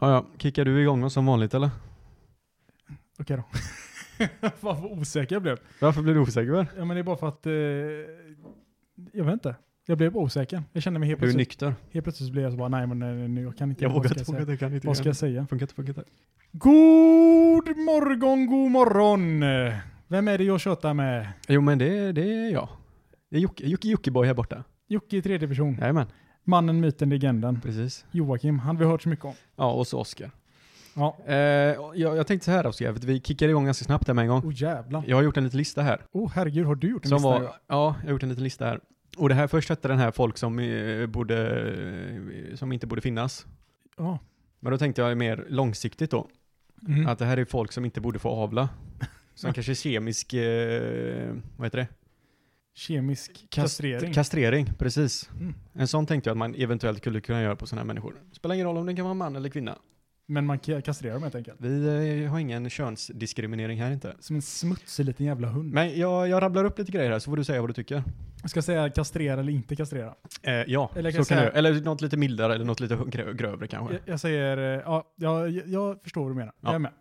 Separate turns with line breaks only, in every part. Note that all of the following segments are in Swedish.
Ja, ja. Kickar du igång oss som vanligt eller?
Okej då. Fan vad osäker jag blev.
Varför blir du osäker? Väl?
Ja men det är bara för att, eh, jag vet inte. Jag blev bara osäker. Jag kände mig helt
Du är
plötsligt,
nykter.
helt plötsligt blev jag så bara nej men nej, nej, jag kan inte.
Jag
Vad
vågar
ska
inte,
säga?
vågar inte, jag kan inte.
Vad ska
göra
jag säga?
det. Funkar inte, funkar inte.
God morgon, god morgon! Vem är det jag tjötar med?
Jo men det, det är jag. Det är Jocke, Jocke Jockiboi här borta.
Jocke i tredje person.
Jajamän,
Mannen, myten, legenden.
precis.
Joakim, han har vi hört så mycket om.
Ja, och så Oskar.
Ja.
Eh, jag, jag tänkte så här Oskar, för att vi kickar igång ganska snabbt här med en gång.
Åh oh, jävlar.
Jag har gjort en liten lista här.
Åh oh, herregud, har du gjort en
Som
lista?
var, ja, jag har gjort en liten lista här. Och det här först hette den här folk som, eh, borde, eh, som inte borde finnas.
Ja.
Men då tänkte jag mer långsiktigt då.
Mm.
Att det här är folk som inte borde få avla. Som kanske är kemisk, eh, vad heter det?
Kemisk kastrering.
Kastrering, precis.
Mm.
En sån tänkte jag att man eventuellt skulle kunna göra på sådana här människor. Spelar ingen roll om det kan vara man eller kvinna.
Men man ka- kastrerar dem helt enkelt.
Vi eh, har ingen könsdiskriminering här inte.
Som en smutsig liten jävla hund.
Men jag, jag rabblar upp lite grejer här så får du säga vad du tycker.
Jag ska säga kastrera eller inte kastrera.
Eh, ja,
Eller
så
jag kan
kan
säga-
du. Eller något lite mildare eller något lite grö- grövre kanske.
Jag, jag säger, eh, ja, jag, jag förstår vad du menar.
Ja.
Jag är med.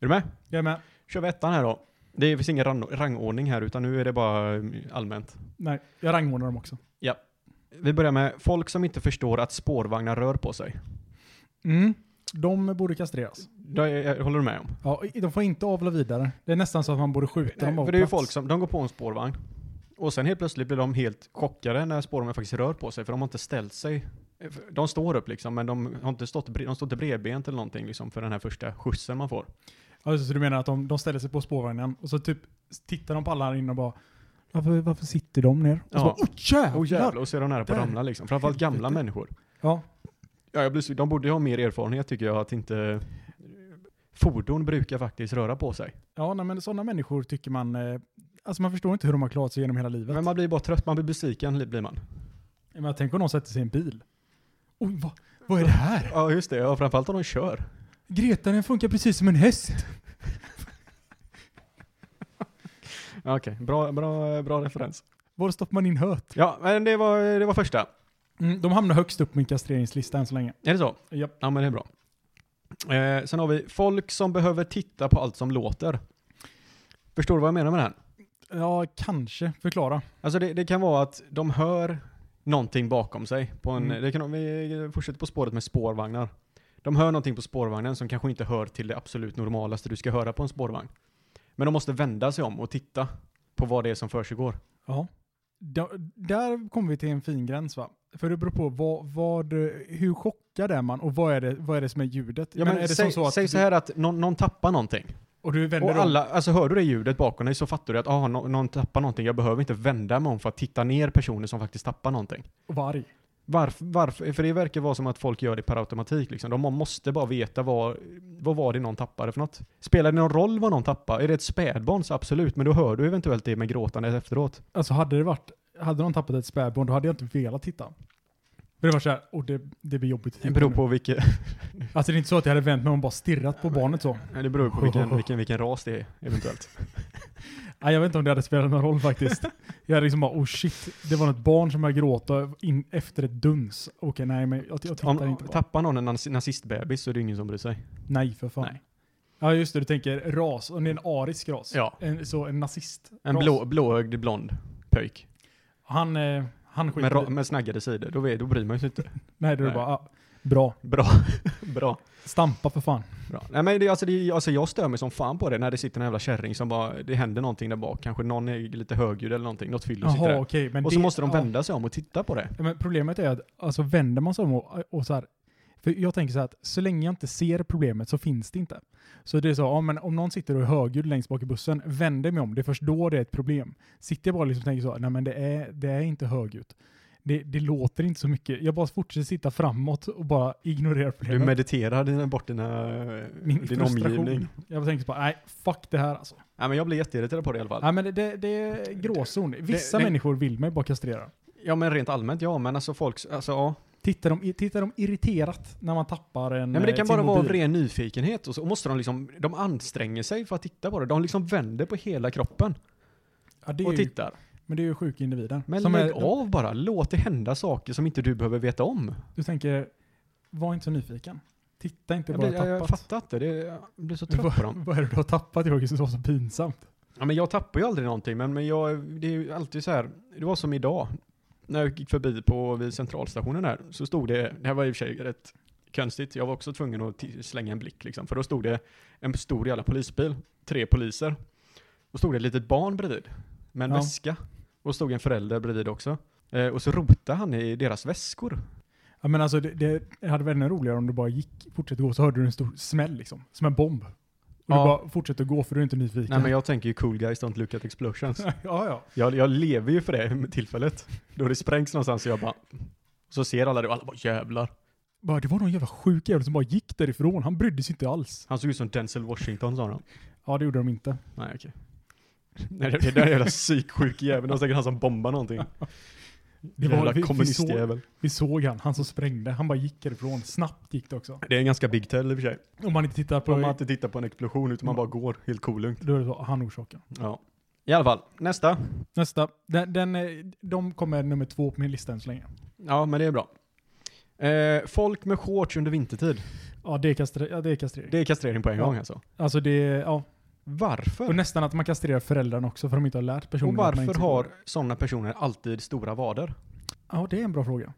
Är du med?
Jag är med.
Kör vi ettan här då. Det finns ingen ran- rangordning här utan nu är det bara mm, allmänt.
Nej, jag rangordnar dem också.
Vi börjar med folk som inte förstår att spårvagnar rör på sig.
Mm. De borde kastreras.
Det eh, håller du med om?
Ja, i- de får inte avla vidare. Det är nästan så att man borde skjuta dem av
för det är ju
plats.
folk som, de går på en spårvagn och sen helt plötsligt blir de helt chockade när spårvagnen faktiskt rör på sig för de har inte ställt sig. De står upp liksom men de har inte stått, bre- de står inte bredbent eller någonting liksom för den här första skjutsen man får.
Ja, just det, så du menar att de, de ställer sig på spårvagnen och så typ tittar de på alla här inne och bara varför, varför sitter de ner? Och
Ja.
så bara oh jävlar!
Och jävlar, och så är de nära på att
Där.
ramla liksom. Framförallt gamla
Helvete.
människor.
Ja,
Ja, jag blir, så- de borde ju ha mer erfarenhet tycker jag att inte Fordon brukar faktiskt röra på sig.
ja nej, men sådana människor tycker man, eh, alltså man förstår inte hur de har klarat sig genom hela livet.
Men man blir bara trött, man blir besviken li- blir man.
Men jag tänker om någon sätter sig i en bil. Oj, vad, vad är det här?
Ja just det, ja, framförallt om de kör.
Greta den funkar precis som en häst.
Ja, Okej, bra, bra, bra referens.
Var stoppar man in höet?
Ja, men det var, det var första.
Mm, de hamnar högst upp på min kastreringslista än så länge.
Är det så?
Japp.
Ja, men det är bra. Eh, sen har vi folk som behöver titta på allt som låter. Förstår du vad jag menar med det här?
Ja, kanske. Förklara.
Alltså det, det kan vara att de hör någonting bakom sig. På en,
Mm.
det kan, vi fortsätter på spåret med spårvagnar. De hör någonting på spårvagnen som kanske inte hör till det absolut normalaste du ska höra på en spårvagn. Men de måste vända sig om och titta på vad det är som försiggår.
Ja. där kommer vi till en fin gräns va? För det beror på vad, vad, hur chockad är man och vad är det, vad är det som är ljudet?
Ja, men
är det
säg,
som
säg så
du-
här att någon, någon tappar någonting.
Och du vänder
Och
om.
alla, alltså hör du det ljudet bakom dig så fattar du att ah, nå- någon tappar någonting, jag behöver inte vända mig om för att titta ner personer som faktiskt tappar någonting.
och var arg.
Varför? varför för det verkar vara som att folk gör det per automatik liksom. De måste bara veta vad, vad var det någon tappade för något. Spelar det någon roll vad någon tappar? Är det ett spädbarn så absolut, men då hör du eventuellt det med gråtandet efteråt.
Alltså hade det varit, hade någon tappat ett spädbarn då hade jag inte velat titta. För det var såhär, och det, det blir jobbigt. att
Det
titta
beror
nu.
på vilken,
Alltså det är inte så att jag hade vänt mig om och bara stirrat på barnet så.
det beror på vilken, vilken, vilken ras det är eventuellt.
Nej, jag vet inte om det hade spelat någon roll faktiskt. Jag hade liksom bara, oh shit, det var något barn som började gråta in, efter ett duns. Okej, nej men jag, jag tittar
Om
inte på
tappar någon en naz- nazistbebis så är det ingen som bryr sig.
Nej, för fan.
Nej.
Ja, just det, du tänker ras, om det är en arisk ras.
Ja.
En, så en nazist.
En
ras.
blå, blåögd blond pöjk.
Han, eh, han
Med,
skiter
ra-
i.
med snaggade sidor, då, vet- då bryr man sig inte.
Nej, då är det
Nej.
bara, ah, bra.
Bra. Bra.
Stampa för fan.
Bra. Nej, men det, alltså, det, alltså, jag stör mig som fan på det när det sitter en jävla kärring som bara, det händer någonting där bak. Kanske någon är lite högljudd eller någonting, något fyllo sitter
Jaha,
där.
okej. men
Och så
det-
måste de
ja.
vända sig om och titta på det.
Ja, men problemet är att alltså, vänder man sig om och, och så här, för jag tänker så här att så länge jag inte ser problemet så finns det inte. Så det är så, ja, men om någon sitter och är högljudd längst bak i bussen, vänder mig om, det är först då det är ett problem. Sitter jag bara och liksom tänker så, nej men det är, det är inte högljutt. Det, det låter inte så mycket. Jag bara fortsätter sitta framåt och bara ignorera
Du
problemet.
mediterar dina, bort dina, eh,
Min
din
frustration.
omgivning.
Jag bara tänker så bara, nej fuck det här alltså.
Nej, men jag blir jätteirriterad på det i alla fall.
Nej men det, det, det är gråzon. Vissa
det-
människor vill mig bara kastrera.
Ja, men rent allmänt ja, men alltså folk, alltså ja.
Tittar de, tittar de irriterat när man tappar en
Nej, men det
eh,
kan
sin
bara vara av
mobil?
ren nyfikenhet och så och måste de liksom, de anstränger sig för att titta på det. De liksom vänder på hela kroppen
Ja, det är
och
ju,
tittar.
men det är ju sjuka individer.
Men
Som
lägg
är,
av bara, låt det hända saker som inte du behöver veta om.
Du tänker, var inte så nyfiken. Titta inte
Jag,
bara
blir, jag, jag
tappat.
fattar inte, det, jag blir så
Men
trött på dem.
Vad är det du har tappat Jörgen som var så pinsamt?
Ja, men jag tappar ju aldrig någonting, men, men jag, det är ju alltid så här. Det var som idag, när jag gick förbi på vid centralstationen här, så stod det, det här var i och för sig rätt konstigt, jag var också tvungen att ti- slänga en blick liksom, för då stod det en stor jävla polisbil, tre poliser, och stod det ett litet barn bredvid, med en
Ja.
väska, och stod en förälder bredvid också. Eh, och så rotade han i deras väskor.
Ja, men alltså, det, det hade varit ännu roligare om du bara gick, fortsatte gå, så hörde du en stor smäll liksom. Som en bomb. Och
Ja.
du bara fortsätter gå för du är inte nyfiken.
Nej men jag tänker ju cool guys don't look at explosions.
ja, ja.
Jag, jag lever ju för det med tillfället. Då det sprängs någonstans och jag bara, så ser alla det och alla bara jävlar.
Bara, det var någon jävla sjuk jävel som bara gick därifrån. Han brydde sig inte alls.
Han såg ut som Denzel Washington sa de.
Ja, det gjorde de inte.
Nej okej. Nej det, det där är jävla psyksjuk jävel, det var säkert han som bombar någonting.
Det var, vi, vi, såg,
kommunistjävel.
vi såg han, han som sprängde. Han bara gick därifrån. Snabbt gick det också.
Det är en ganska big tell i och för sig.
Om man inte tittar på...
Om man inte tittar på en explosion utan man bara går helt kolugnt.
Då är det så, han orsakar.
Ja. I alla fall, nästa.
Nästa. Den, den, eh, de kommer nummer två på min lista än så länge.
Ja men det är bra. Eh, folk med shorts under vintertid.
Ja, det är, kastre, ja, det är kastrering.
Det är kastrering på en
Ja.
gång alltså.
Alltså det är, ja.
Varför?
Och nästan att man kastrerar föräldrarna också för de inte har lärt personen.
Och
att man
varför
inte-
har sådana personer alltid stora vader?
Ja, det är en bra fråga.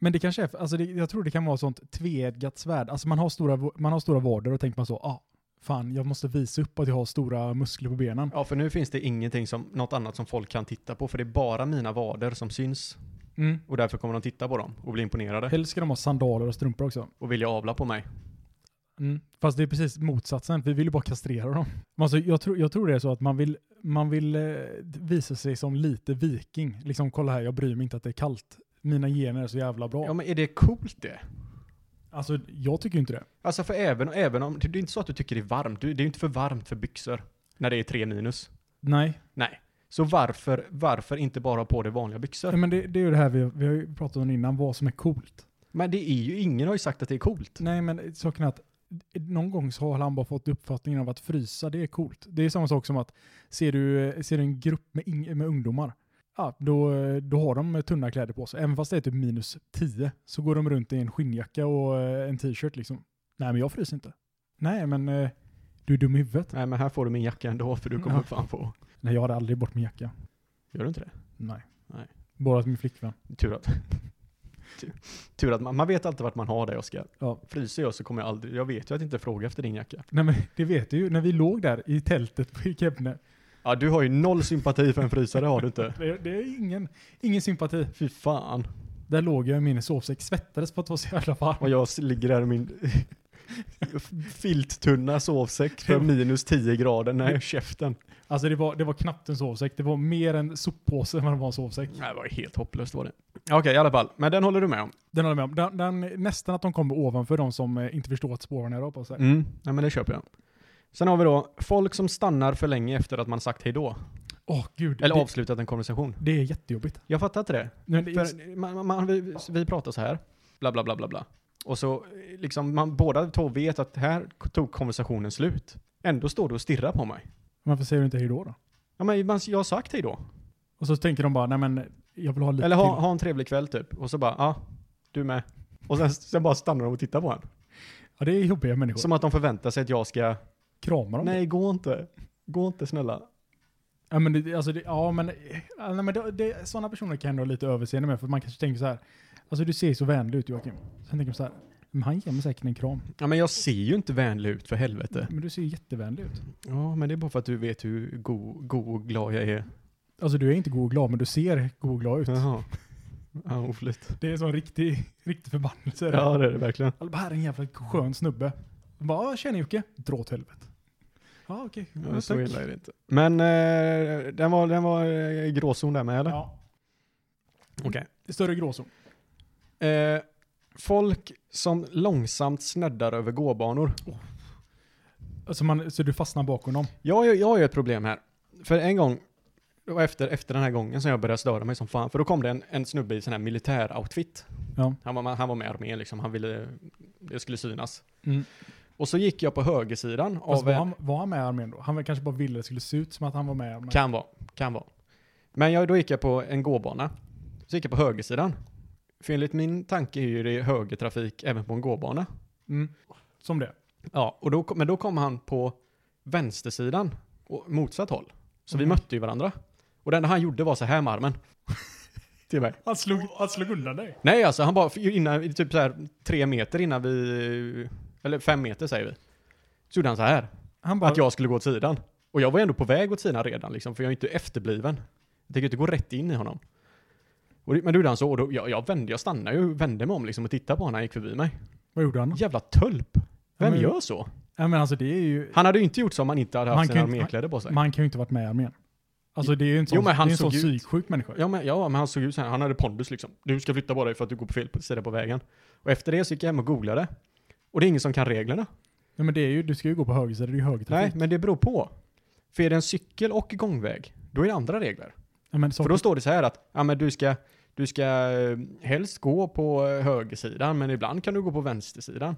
Men det kanske är, alltså det, jag tror det kan vara sånt tveeggat svärd. Alltså man har stora, man har stora vader och tänker man så, ah, fan jag måste visa upp att jag har stora muskler på benen.
Ja, för nu finns det ingenting som, något annat som folk kan titta på, för det är bara mina vader som syns.
Mm.
Och därför kommer de titta på dem och bli imponerade
Helst ska de ha sandaler och strumpor också.
och vilja avla på mig.
Mm. Fast det är precis motsatsen, vi vill ju bara kastrera dem. Men Alltså, jag, tror, jag tror det är så att man vill, man vill eh, visa sig som lite viking. Liksom kolla här, jag bryr mig inte att det är kallt. Mina gener är så jävla bra.
Ja, men är det coolt det?
Alltså jag tycker ju inte det.
Alltså, för även, även om, det är inte så att du tycker det är varmt, Du- det är ju inte för varmt för byxor när det är tre minus.
Nej,
Nej. Så varför, varför inte bara ha på dig vanliga
Nej,
byxor?
men det, det är ju det här vi, vi har ju pratat om innan, vad som är coolt.
Men det är ju, ingen har ju sagt att det är coolt.
Nej, men saken är att någon gång så har han bara fått uppfattningen av att frysa, det är coolt. Det är samma sak som att ser du, ser du en grupp med, ing- med ungdomar, ja, då, då har de tunna kläder på sig. Även fast det är typ minus 10 så går de runt i en skinnjacka och eh, en t-shirt liksom. Nej, men jag fryser inte. Nej, men eh, du är dum i huvudet.
Nej, men här får du min jacka ändå, för du kommer
Ja.
fan få.
Nej, jag hade aldrig bort min jacka.
Gör du inte det?
Nej.
Nej.
Bara till min flickvän.
Tur att, tur, tur att man, man vet alltid vart man har det, Oskar.
Ja.
Fryser jag så kommer jag aldrig, jag vet ju att inte fråga efter din jacka.
Nej, men det vet du ju. När vi låg där i tältet på Kebne,
Ja, du har ju noll sympati för en frysare, har du inte?
det, det är ingen, ingen sympati.
Fy fan.
Där låg jag i min sovsäck, svettades på att vara så jävla varm.
Och jag s- ligger där i min filttunna sovsäck för minus 10 grader. Nej, käften.
Alltså det var, det var knappt en sovsäck, det var mer en soppåse än vad det var en sovsäck.
Nej, det var helt hopplöst var det. Okej, i alla fall. Men den håller du med om?
Den håller jag med om. Den, den, nästan att de kommer ovanför de som eh, inte förstår att spåren är alltså. på sig.
Mm. Nej, men det köper jag. Sen har vi då folk som stannar för länge efter att man sagt hej då.
Åh gud,
Eller
det,
avslutat en konversation.
det är jättejobbigt.
Jag fattar inte det.
Men det, är-
För man, man- man, vi, vi pratar så här, bla bla bla bla bla. Och så eh, liksom, man, båda två vet att här tog konversationen slut. Ändå står du och stirrar på mig.
varför säger du inte hej då då?
Ja men man, jag har sagt hej då.
Och så tänker de bara, nej men jag vill ha lite
Eller ha,
till.
ha en trevlig kväll typ. Och så bara, ja, du med. Och sen, sen bara stannar de och tittar på en.
Ja det är jobbiga människor.
Som att de förväntar sig att jag ska,
Kramar de
nej gå inte. Gå inte snälla.
Ja men, det, alltså det, ja, men, eh, nej, men det, det, sådana personer kan jag ändå ha lite överseende med för man kanske tänker så här. Alltså du ser ju så vänlig ut Joakim. Sen tänker man så här, men han ger mig säkert en kram.
Ja men jag ser ju inte vänlig ut för helvete.
Men du ser ju jättevänlig ut.
Ja men det är bara för att du vet hur god, god och glad jag är.
Alltså du är inte god och glad, men du ser god och glad ut.
Jaha. Ja, oflytt.
Det är en sån riktig, riktig förbannelse. Ja.
Ja det är det verkligen.
Bara, här är en jävla skön snubbe. Jag Bara, "Ja, tjena Jocke. Dra åt helvete. Ja, okej.
Ja,
Ja,
så
tack.
illa är det inte. Men eh, den var, den var eh, gråzon där med eller?
Ja,
Okej.
större gråzon.
Eh, folk som långsamt sneddar över gåbanor.
Alltså man, så du fastnar bakom dem.
Jag, jag, jag har ju ett problem här. För en gång, det var efter, efter den här gången som jag började störa mig som fan. För då kom det en, en snubbe i sån här militäroutfit.
Ja.
Han, var, han var med i armén liksom, han ville, det skulle synas.
Mm.
Och så gick jag på högersidan
Alltså,
av
var,
en,
han, var han med i armén då? Han väl kanske bara ville att det skulle se ut som att han var med i armén.
Kan vara, kan vara. Men jag, då gick jag på en gåbana. Så gick jag på högersidan. För enligt min tanke är ju det högertrafik även på en gåbana.
Mm. Som det.
Ja, och då, kom- men då kom han på vänstersidan, och motsatt håll. Så vi
Mm.
mötte ju varandra. Och det enda han gjorde var så här med armen. Till mig.
Han slog, han slog undan dig.
Nej alltså, han bara, innan, typ så här tre meter innan vi, eller fem meter säger vi. Så gjorde han så här,
Han bara,
att jag skulle gå åt sidan. Och jag var ändå på väg åt sidan redan liksom, för jag är inte efterbliven. Jag tänker inte gå rätt in i honom. Och, det- men då gjorde han så, och då, jag, jag vände, jag stannade ju, vände mig om liksom och tittade på honom när han gick förbi mig.
vad gjorde han?
Jävla tölp! Vem
men-
gör så?
Ja, men alltså det är ju,
Han hade ju inte gjort så om han inte hade haft
Man
sina
kan ju inte-
armékläder på sig.
man kan ju inte varit med i armén. Alltså det är ju en sån,
Jo, men han
det är en sån
såg ut-
psyksjuk människa.
Ja men, ja men han såg ut så här, han hade pondus liksom. Du ska flytta på dig för att du går på fel sida på vägen. Och efter det så gick jag hem och googlade. Och det är ingen som kan reglerna.
Ja, men det är ju, du ska ju gå på höger sida, det är ju högertrafik.
Nej, men det beror på. För är det en cykel och gångväg, då är det andra regler.
Ja, men så,
För då står det så här att, ja men du ska, du ska eh, helst gå på eh, högersidan, men ibland kan du gå på vänstersidan.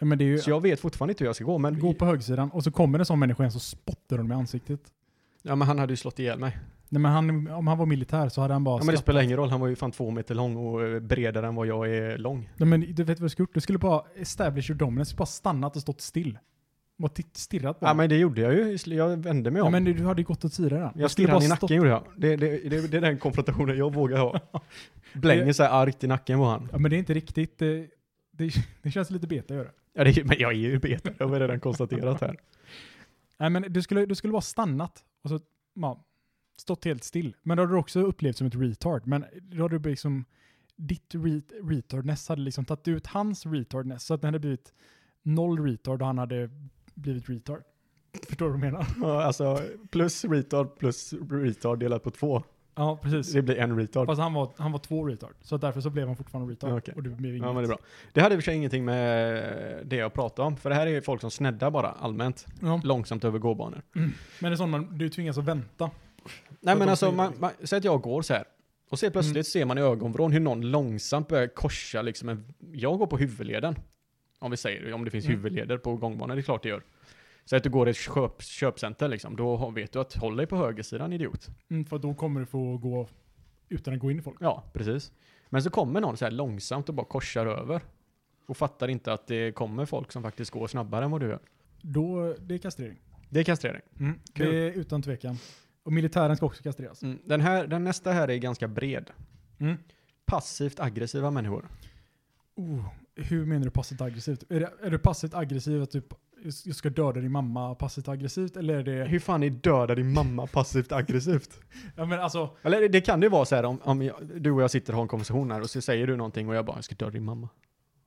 ja, men det är ju,
Så jag vet fortfarande inte hur jag ska gå, men,
gå på högersidan och så kommer det en sån människa igen så spottar de i ansiktet.
ja, men han hade ju slått ihjäl mig.
Nej, men han, om han var militär så hade han bara
Ja, men det
slapp-
spelar ingen roll, han var ju fan två meter lång och eh, bredare än vad jag är lång.
Nej, men du vet vad du skulle gjort? Du skulle bara establish your dominance, bara stannat och stått still. Bara titt, stirrat på
Ja men det gjorde jag ju, jag vände mig om.
ja, men du, du hade ju gått åt sidan. där. Du
Jag
skulle
stirrade
bara
i nacken
stått-
gjorde jag. Det, det, det, det är den konfrontationen jag vågar ha. Blänger sig argt i nacken på han.
Ja, men det är inte riktigt, det, det, det känns lite beta att göra.
Ja, det, är- men jag är ju beta, det har vi redan konstaterat här.
Nej, men du skulle, du skulle bara stannat och så, ja, stått helt still. Men då hade du också upplevt som ett retard. Men då hade du liksom, ditt re, retardness hade liksom tagit ut hans retardness. Så att det hade blivit noll retard och han hade blivit retard. Förstår du vad jag menar?
Ja, Alltså, plus retard plus retard delat på två.
Ja, precis.
Det blir en retard.
Fast han var, han var två retard. Så att därför så blev han fortfarande retard.
Okej.
Och du blev inget.
Ja, men det är bra. Det hade i och för sig ingenting med det jag pratade om, för det här är ju folk som sneddar bara allmänt,
Ja,
långsamt över gåbanor.
men det är sånt man, du tvingas att vänta.
Nej men
de
alltså,
sneglar
man,
liksom.
man, säg att jag går så här. Och så helt plötsligt
Mm.
ser man i ögonvrån hur någon långsamt börjar korsa liksom en, Jag går på huvudleden. Om vi säger det, om det finns
Mm.
huvudleder på gångbanan, det är klart det gör. Så att du går i ett köp, köpcenter liksom, då har- vet du att håll dig på högersidan idiot.
Mm, för då kommer du få gå utan att gå in i folk.
Ja, precis. Men så kommer någon så här långsamt och bara korsar över. Och fattar inte att det kommer folk som faktiskt går snabbare än vad du gör.
Då, det är kastrering.
Det är kastrering.
Det är utan tvekan. Och militären ska också kastreras.
Mm. Den, här, den nästa här är ganska bred.
Mm.
Passivt aggressiva människor.
Oh, hur menar du passivt aggressivt? Är, det, är du passivt aggressiv att typ, jag ska döda din mamma passivt aggressivt? Eller är det...
Hur fan är döda din mamma passivt aggressivt?
Ja, men alltså,
Eller det kan det ju vara så här om, om jag, du och jag sitter och har en konversation här och så säger du någonting och jag bara, jag ska döda din mamma.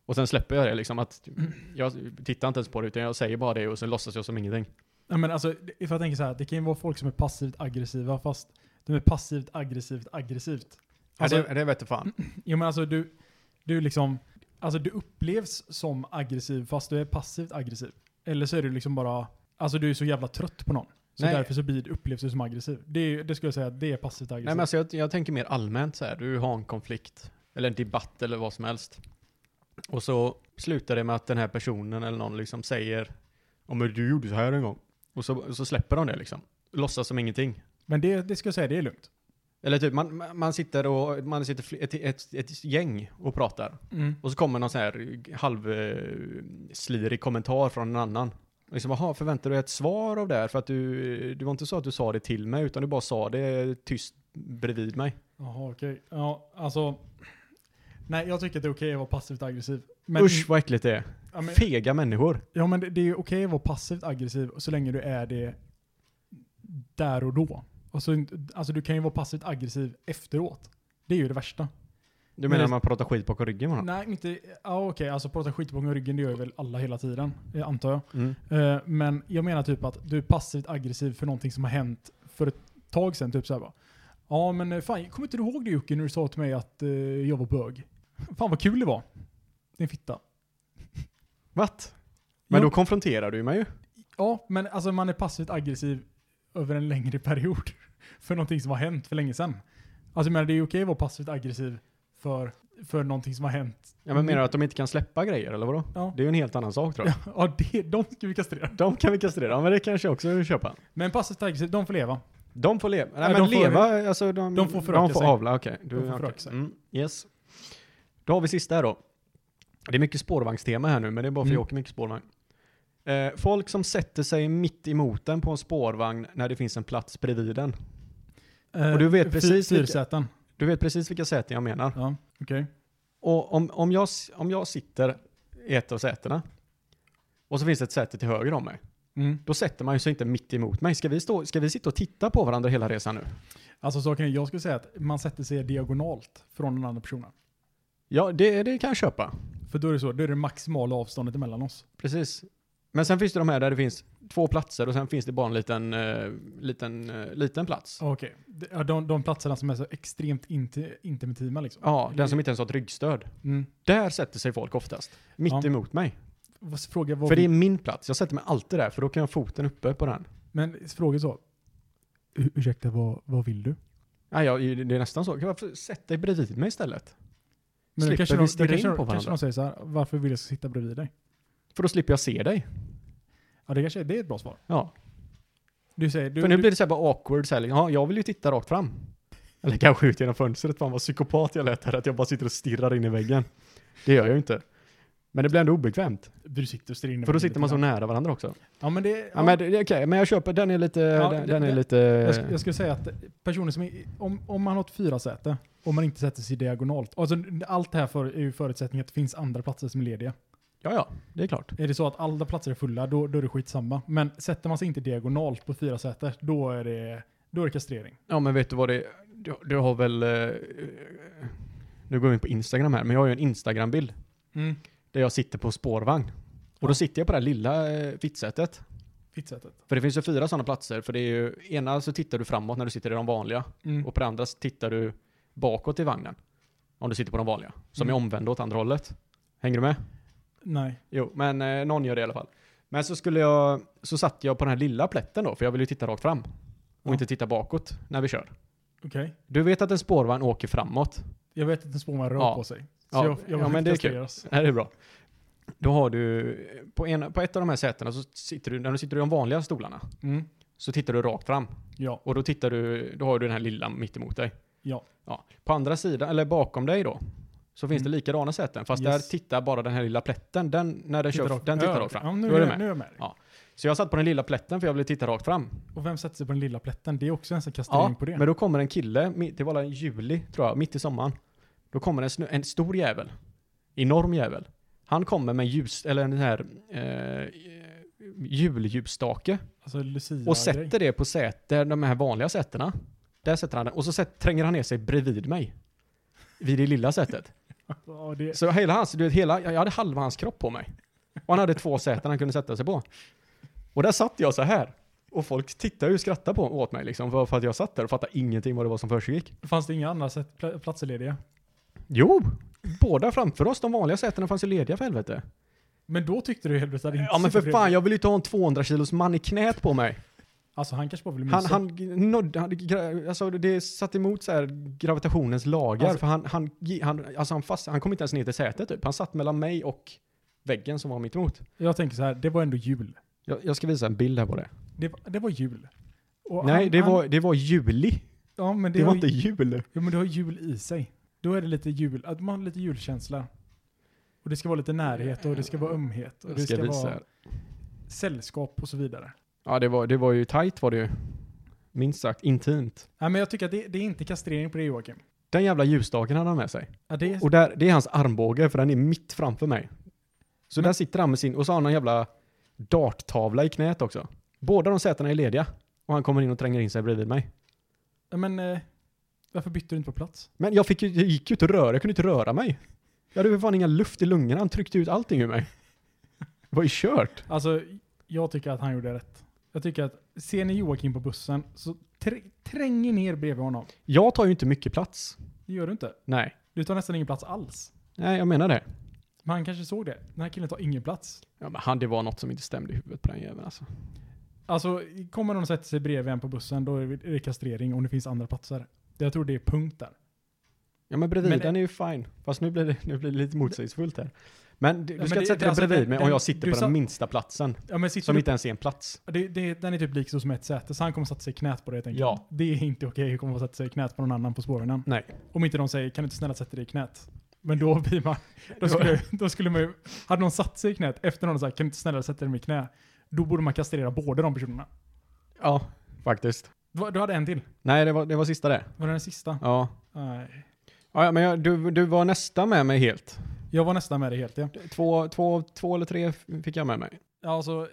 Och sen släpper jag det liksom att, jag tittar inte ens på det utan jag säger bara det och sen låtsas jag som ingenting.
ja, men alltså det- if jag tänker så här, det kan ju vara folk som är passivt aggressiva fast de är passivt aggressivt aggressivt. Alltså,
ja, det, det vete fan.
ja, men alltså du, du liksom, alltså du upplevs som aggressiv fast du är passivt aggressiv. Eller så är du liksom bara, alltså du är så jävla trött på någon. Så
Nej.
därför så blir, upplevs du som aggressiv. Det, är- det skulle jag säga, det är passivt aggressivt.
Nej men alltså jag, jag tänker mer allmänt så här, du har en konflikt eller en debatt eller vad som helst. Och så slutar det med att den här personen eller någon liksom säger, om du gjorde så här en gång. Och så, och så släpper de det liksom. Låtsas som ingenting.
Men det, det ska jag säga, det är lugnt.
Eller typ, man, man- man sitter och, man sitter fl- ett, ett, ett gäng och pratar.
Mm.
Och så kommer någon sån här halvslirig kommentar från en annan. Och Liksom, jaha, förväntar du dig ett svar av det här? För att du, det var inte så att du sa det till mig, utan du bara sa det tyst bredvid mig.
Jaha, okej. Ja, alltså. Nej, jag tycker att det är okej att vara passivt aggressiv. Men,
Usch vad äckligt det är.
Ja, men,
Fega människor.
ja, men det det är ju okej att vara passivt aggressiv så länge du är det där och då. Alltså, inte- alltså du kan ju vara passivt aggressiv efteråt. Det är ju det värsta.
Du menar
det-
man pratar skit bakom ryggen på någon?
Nej, inte... Ja, okej. Alltså prata skit bakom ryggen, det gör ju väl alla hela tiden, eh, antar jag.
Mm.
Eh, men jag menar typ att du är passivt aggressiv för någonting som har hänt för ett tag sedan. Typ såhär bara. Ja men eh, fan, kommer inte du ihåg det Jocke när du sa till mig att eh, jag var bög? Fan vad kul det var. Din fitta.
What? Men
Ja.
då konfronterar du mig ju.
Ja, men alltså man är passivt aggressiv över en längre period. För någonting som har hänt för länge sedan. Alltså jag menar det är ju okej att vara passivt aggressiv för, för någonting som har hänt.
Ja, men menar du att de inte kan släppa grejer eller vadå?
Mm. Ja,
Det är ju en helt annan sak tror jag.
ja, ja det, de ska vi kastrera.
De kan vi kastrera, ja, men det kanske jag också vill köpa.
Men passivt aggressiv, de får leva.
De får leva. Nej,
Ja,
men
de får-
leva, alltså de,
de får föröka
De får Mm,
sig.
avla, okej. Du-
De får
okej.
föröka sig.
Mm, yes. Då har vi sista här då. Det är mycket spårvagnstema här nu, men det är bara för att
Mm.
jag åker mycket spårvagn. Eh, folk som sätter sig mitt emot den på en spårvagn när det finns en plats bredvid den.
Eh,
Och du vet
fyr-
precis vilka-
Fyrsäten.
Du vet precis vilka säten jag menar.
Ja, okej.
Och om, om, jag, s- om jag sitter i ett av sätena och så finns det ett säte till höger om mig,
Mm.
då sätter man ju sig inte mitt emot mig. Ska vi, stå, ska vi sitta och titta på varandra hela resan nu?
Alltså saken är, jag skulle säga att man sätter sig diagonalt från den andra personen.
Ja, det, det kan jag köpa.
För då är det så, då är det maximala avståndet emellan oss.
Precis. Men sen finns det de här där det finns två platser och sen finns det bara en liten, eh, liten, eh, liten plats.
Okej. Det- Ja, de, de platserna som är så extremt inti- intima liksom.
Ja, den som inte ens har ett ryggstöd.
Mm.
Där sätter sig folk oftast. Mitt
Ja.
emot mig.
Vad- Fråga vad
För det
vi-
är min plats. Jag sätter mig alltid där för då kan jag ha foten uppe på den.
Men fråga så. U- ursäkta, vad, vad vill du?
Nej, jag, det är nästan så. Kan jag sätt dig bredvid mig istället?
Men då
Slipper
kanske
vi
de,
stirra
då kanske,
in
de-
på
kanske
varandra.
de säger så här, varför vill jag sitta bredvid dig?
För då slipper jag se dig.
Ja, det kanske är- det är ett bra svar.
Ja.
Du säger, du,
för nu
du,
blir det så här bara awkward. Så här, liksom, ja, jag vill ju titta rakt fram. Eller kanske ut genom fönstret. Fan vad psykopat jag lät här. Att jag bara sitter och stirrar in i väggen. Det gör jag ju inte. Men det blir ändå obekvämt.
du sitter och stirrar in i
För då
väggen
sitter man så
lite
nära varandra också.
grann. Ja, men det...
Ja, men det- det är okej, men jag köper, den är lite, den,
det-
den är
det-
lite...
Jag, sk- jag skulle säga att personer som är, om, om man har ett fyra säte om man inte sätter sig diagonalt. Alltså, allt det här för, är ju förutsättning att det finns andra platser som är lediga.
ja, ja, det är klart.
Är det så att alla platser är fulla, då, då är det skitsamma. Men sätter man sig inte diagonalt på fyra säte då är det, då är det kastrering.
Ja, men vet du vad det är? Du, du har väl... eh, nu går vi in på Instagram här, men jag har ju en Instagram-bild
Mm.
där jag sitter på spårvagn. Och då sitter jag på det här lilla eh, fittsätet.
Fittsätet.
För det finns ju fyra sådana platser, för det är ju... Ena så tittar du framåt när du sitter i de vanliga,
Mm.
och på det andra så tittar du bakåt i vagnen. Om du sitter på de vanliga, som
Mm.
är omvända åt andra hållet. Hänger du med?
Nej.
Jo, men eh, någon gör det i alla fall. Men så skulle jag, så satt jag på den här lilla plätten då, för jag vill ju titta rakt fram. Och
Ja.
inte titta bakåt när vi kör.
Okej.
Du vet att en spårvagn åker framåt.
Jag vet att en spårman rör
Ja.
på sig. Så
Ja.
jag, jag
Ja, men det är kul.
kastreras.
Nej, det är bra. Då har du, på, en, på ett av de här sätena så sitter du, när du sitter i de vanliga stolarna,
Mm.
så tittar du rakt fram.
Ja.
Och då tittar du, då har du den här lilla mitt emot dig.
Ja.
ja. På andra sidan, eller bakom dig då, så finns
Mm.
det likadana säten. Fast
Yes.
där tittar bara den här lilla plätten, den, när den
Tittar
kör,
rakt-
den tittar
Ja,
rakt fram.
Ja, nu,
då är
är
du
jag,
med.
nu är jag med.
Ja. Så jag satt på den lilla plätten för jag ville titta rakt fram.
Och vem sätter sig på den lilla plätten? Det är också en sån kastrering på det.
men då kommer en kille, mitt- det var väl i juli tror jag, mitt i sommaren. Då kommer en, snu, en stor jävel. Enorm jävel. Han kommer med en ljus, eller en sån här eh, julljusstake
alltså Lucia
och sätter det på säte, de här vanliga sätena. Där sätter han den och så sätt, tränger han ner sig bredvid mig. Vid det lilla sätet.
Ja, det,
Så hela hans, du vet, hela, jag hade halva hans kropp på mig. Och han hade två säten han kunde sätta sig på. Och där satt jag så här. Och folk tittade ju och skrattade på, åt mig liksom, för, för att jag satt där och fattade ingenting vad det var som försiggick.
fanns det inga andra sätt, pla- platser lediga?
Jo! Båda framför oss, de vanliga sätena fanns ju lediga för helvete.
Men då tyckte du helvete att det inte
Ja men för
sitter
fan,
bredvid.
jag vill ju inte ha en 200 kilos man i knät på mig.
Alltså han kanske bara ville
Han,
mysa.
han nådde, han, gra- alltså det satt emot så här gravitationens lagar.
Alltså-
för han, han, han, alltså han, fast, han kom inte ens ner till sätet typ. Han satt mellan mig och väggen som var mitt emot.
Jag tänker så här, det var ändå jul.
Jag, jag ska visa en bild här på det.
Det, var- det var jul. Och
Nej,
han-
det,
han-
var, det var juli.
Ja men
Det,
det,
var
har,
inte jul.
Jo men det har jul i sig. Då är det lite jul, att man har lite julkänsla. Och det ska vara lite närhet och det ska vara ömhet. Och det ska, vara
här.
sällskap och så vidare.
Ja, det var, det var ju tight var det ju. Minst sagt intimt.
Nej men jag tycker att det, det är inte kastrering på det Joakim.
Den jävla ljusstaken hade han med sig.
Ja, det är,
Och där, det är hans armbåge, för den är mitt framför mig. Så
Men-
där sitter han med sin, och så har han en jävla darttavla i knät också. Båda de sätena är lediga. Och han kommer in och tränger in sig bredvid mig.
ja, men eh, varför bytte du inte på plats?
Men jag, fick ju, jag gick ju inte att röra, jag kunde inte röra mig. Jag hade ju för fan inga luft i lungorna, han tryckte ut allting ur mig. Det var ju kört.
Alltså, jag tycker att han gjorde rätt. Jag tycker att, ser ni Joakim på bussen så tr- träng er ner bredvid honom.
Jag tar ju inte mycket plats.
Det gör du inte.
Nej.
Du tar nästan ingen plats alls.
Nej, jag menar det.
Men han kanske såg det. Den här killen tar ingen plats.
Ja men han, det var något som inte stämde i huvudet på den jäveln alltså.
Alltså, kommer någon och sätter sig bredvid en på bussen, då är det- är det kastrering om det finns andra platser. Jag tror det är punkt där.
Ja men bredvid
Men det-
den är ju fine. Fast nu blir det, nu blir det lite motsägelsefullt här. Men du,
Ja,
du ska
men
inte
det-
sätta
det-
dig
alltså,
bredvid
den-
mig om
den-
jag sitter
du
på
sa-
den minsta platsen.
Ja, men sitter
Som
du,
inte ens är en plats.
det, det, den är typ lik så som ett säte, så han kommer sätta sig i knät på det helt enkelt.
Ja.
Det är inte okej att komma och sätta sig i knät på någon annan på spårvagnen.
Nej.
Om inte de säger, kan du inte snälla sätta dig i knät? Men då blir man, då skulle, då skulle man ju, hade någon satt sig i knät efter någon och sagt kan du inte snälla sätta dig i mitt knä? Då borde man kastrera båda de personerna.
Ja, faktiskt.
Du du hade en till.
Nej, det var, det var sista det.
Var det den sista?
Ja.
Nej.
Ja, ja, men jag, du, du var nästa med mig helt.
Jag var nästan med dig helt ja.
Två, två, två eller tre f- fick jag med mig.
Ja, Alltså,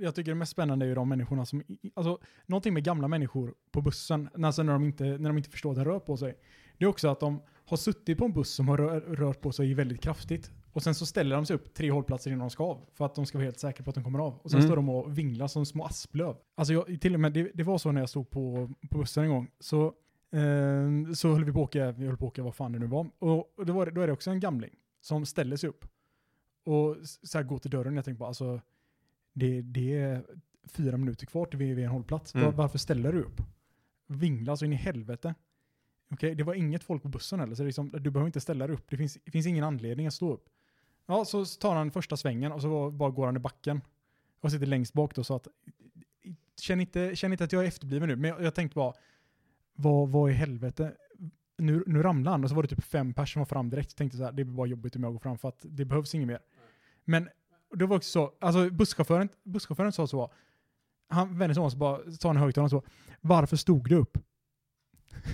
jag tycker det mest spännande är ju de människorna som, alltså någonting med gamla människor på bussen, när- alltså när de inte, när de inte förstår att den rör på sig. Det är också att de har suttit på en buss som har rör, rört på sig väldigt kraftigt. Och sen så ställer de sig upp tre hållplatser innan de ska av. För att de ska vara helt säkra på att de kommer av. Och sen
Mm.
står de och vinglar som små asplöv. Alltså jag, till och med, det, det var så när jag stod på, på bussen en gång. Så, eh, så höll vi på att åka, vi höll på att åka vad fan det nu var. Och, och då, var det, då är det också en gamling som ställer sig upp. Och s- så här går till dörren. Jag tänker bara alltså, det, det är fyra minuter kvar till vi vi är en hållplats. Var,
Mm.
varför ställer du upp? Vingla så in i helvete. Okej, det var inget folk på bussen heller, så det är liksom, du behöver inte ställa dig upp. Det finns, det finns ingen anledning att stå upp. Ja, så tar han första svängen och så var- bara går han i backen. Och sitter längst bak då så att, känn inte, känn inte att jag är efterbliven nu, men jag, jag tänkte bara, vad, vad i helvete? Nu, nu ramlade han och så var det typ fem personer som var fram direkt. Jag tänkte så här, det blir bara jobbigt om jag går fram för att det behövs inget mer. Men det var också så, alltså busschauffören, busschauffören sa så, han vände sig om och så bara, sa han i högtalaren så, varför stod du upp?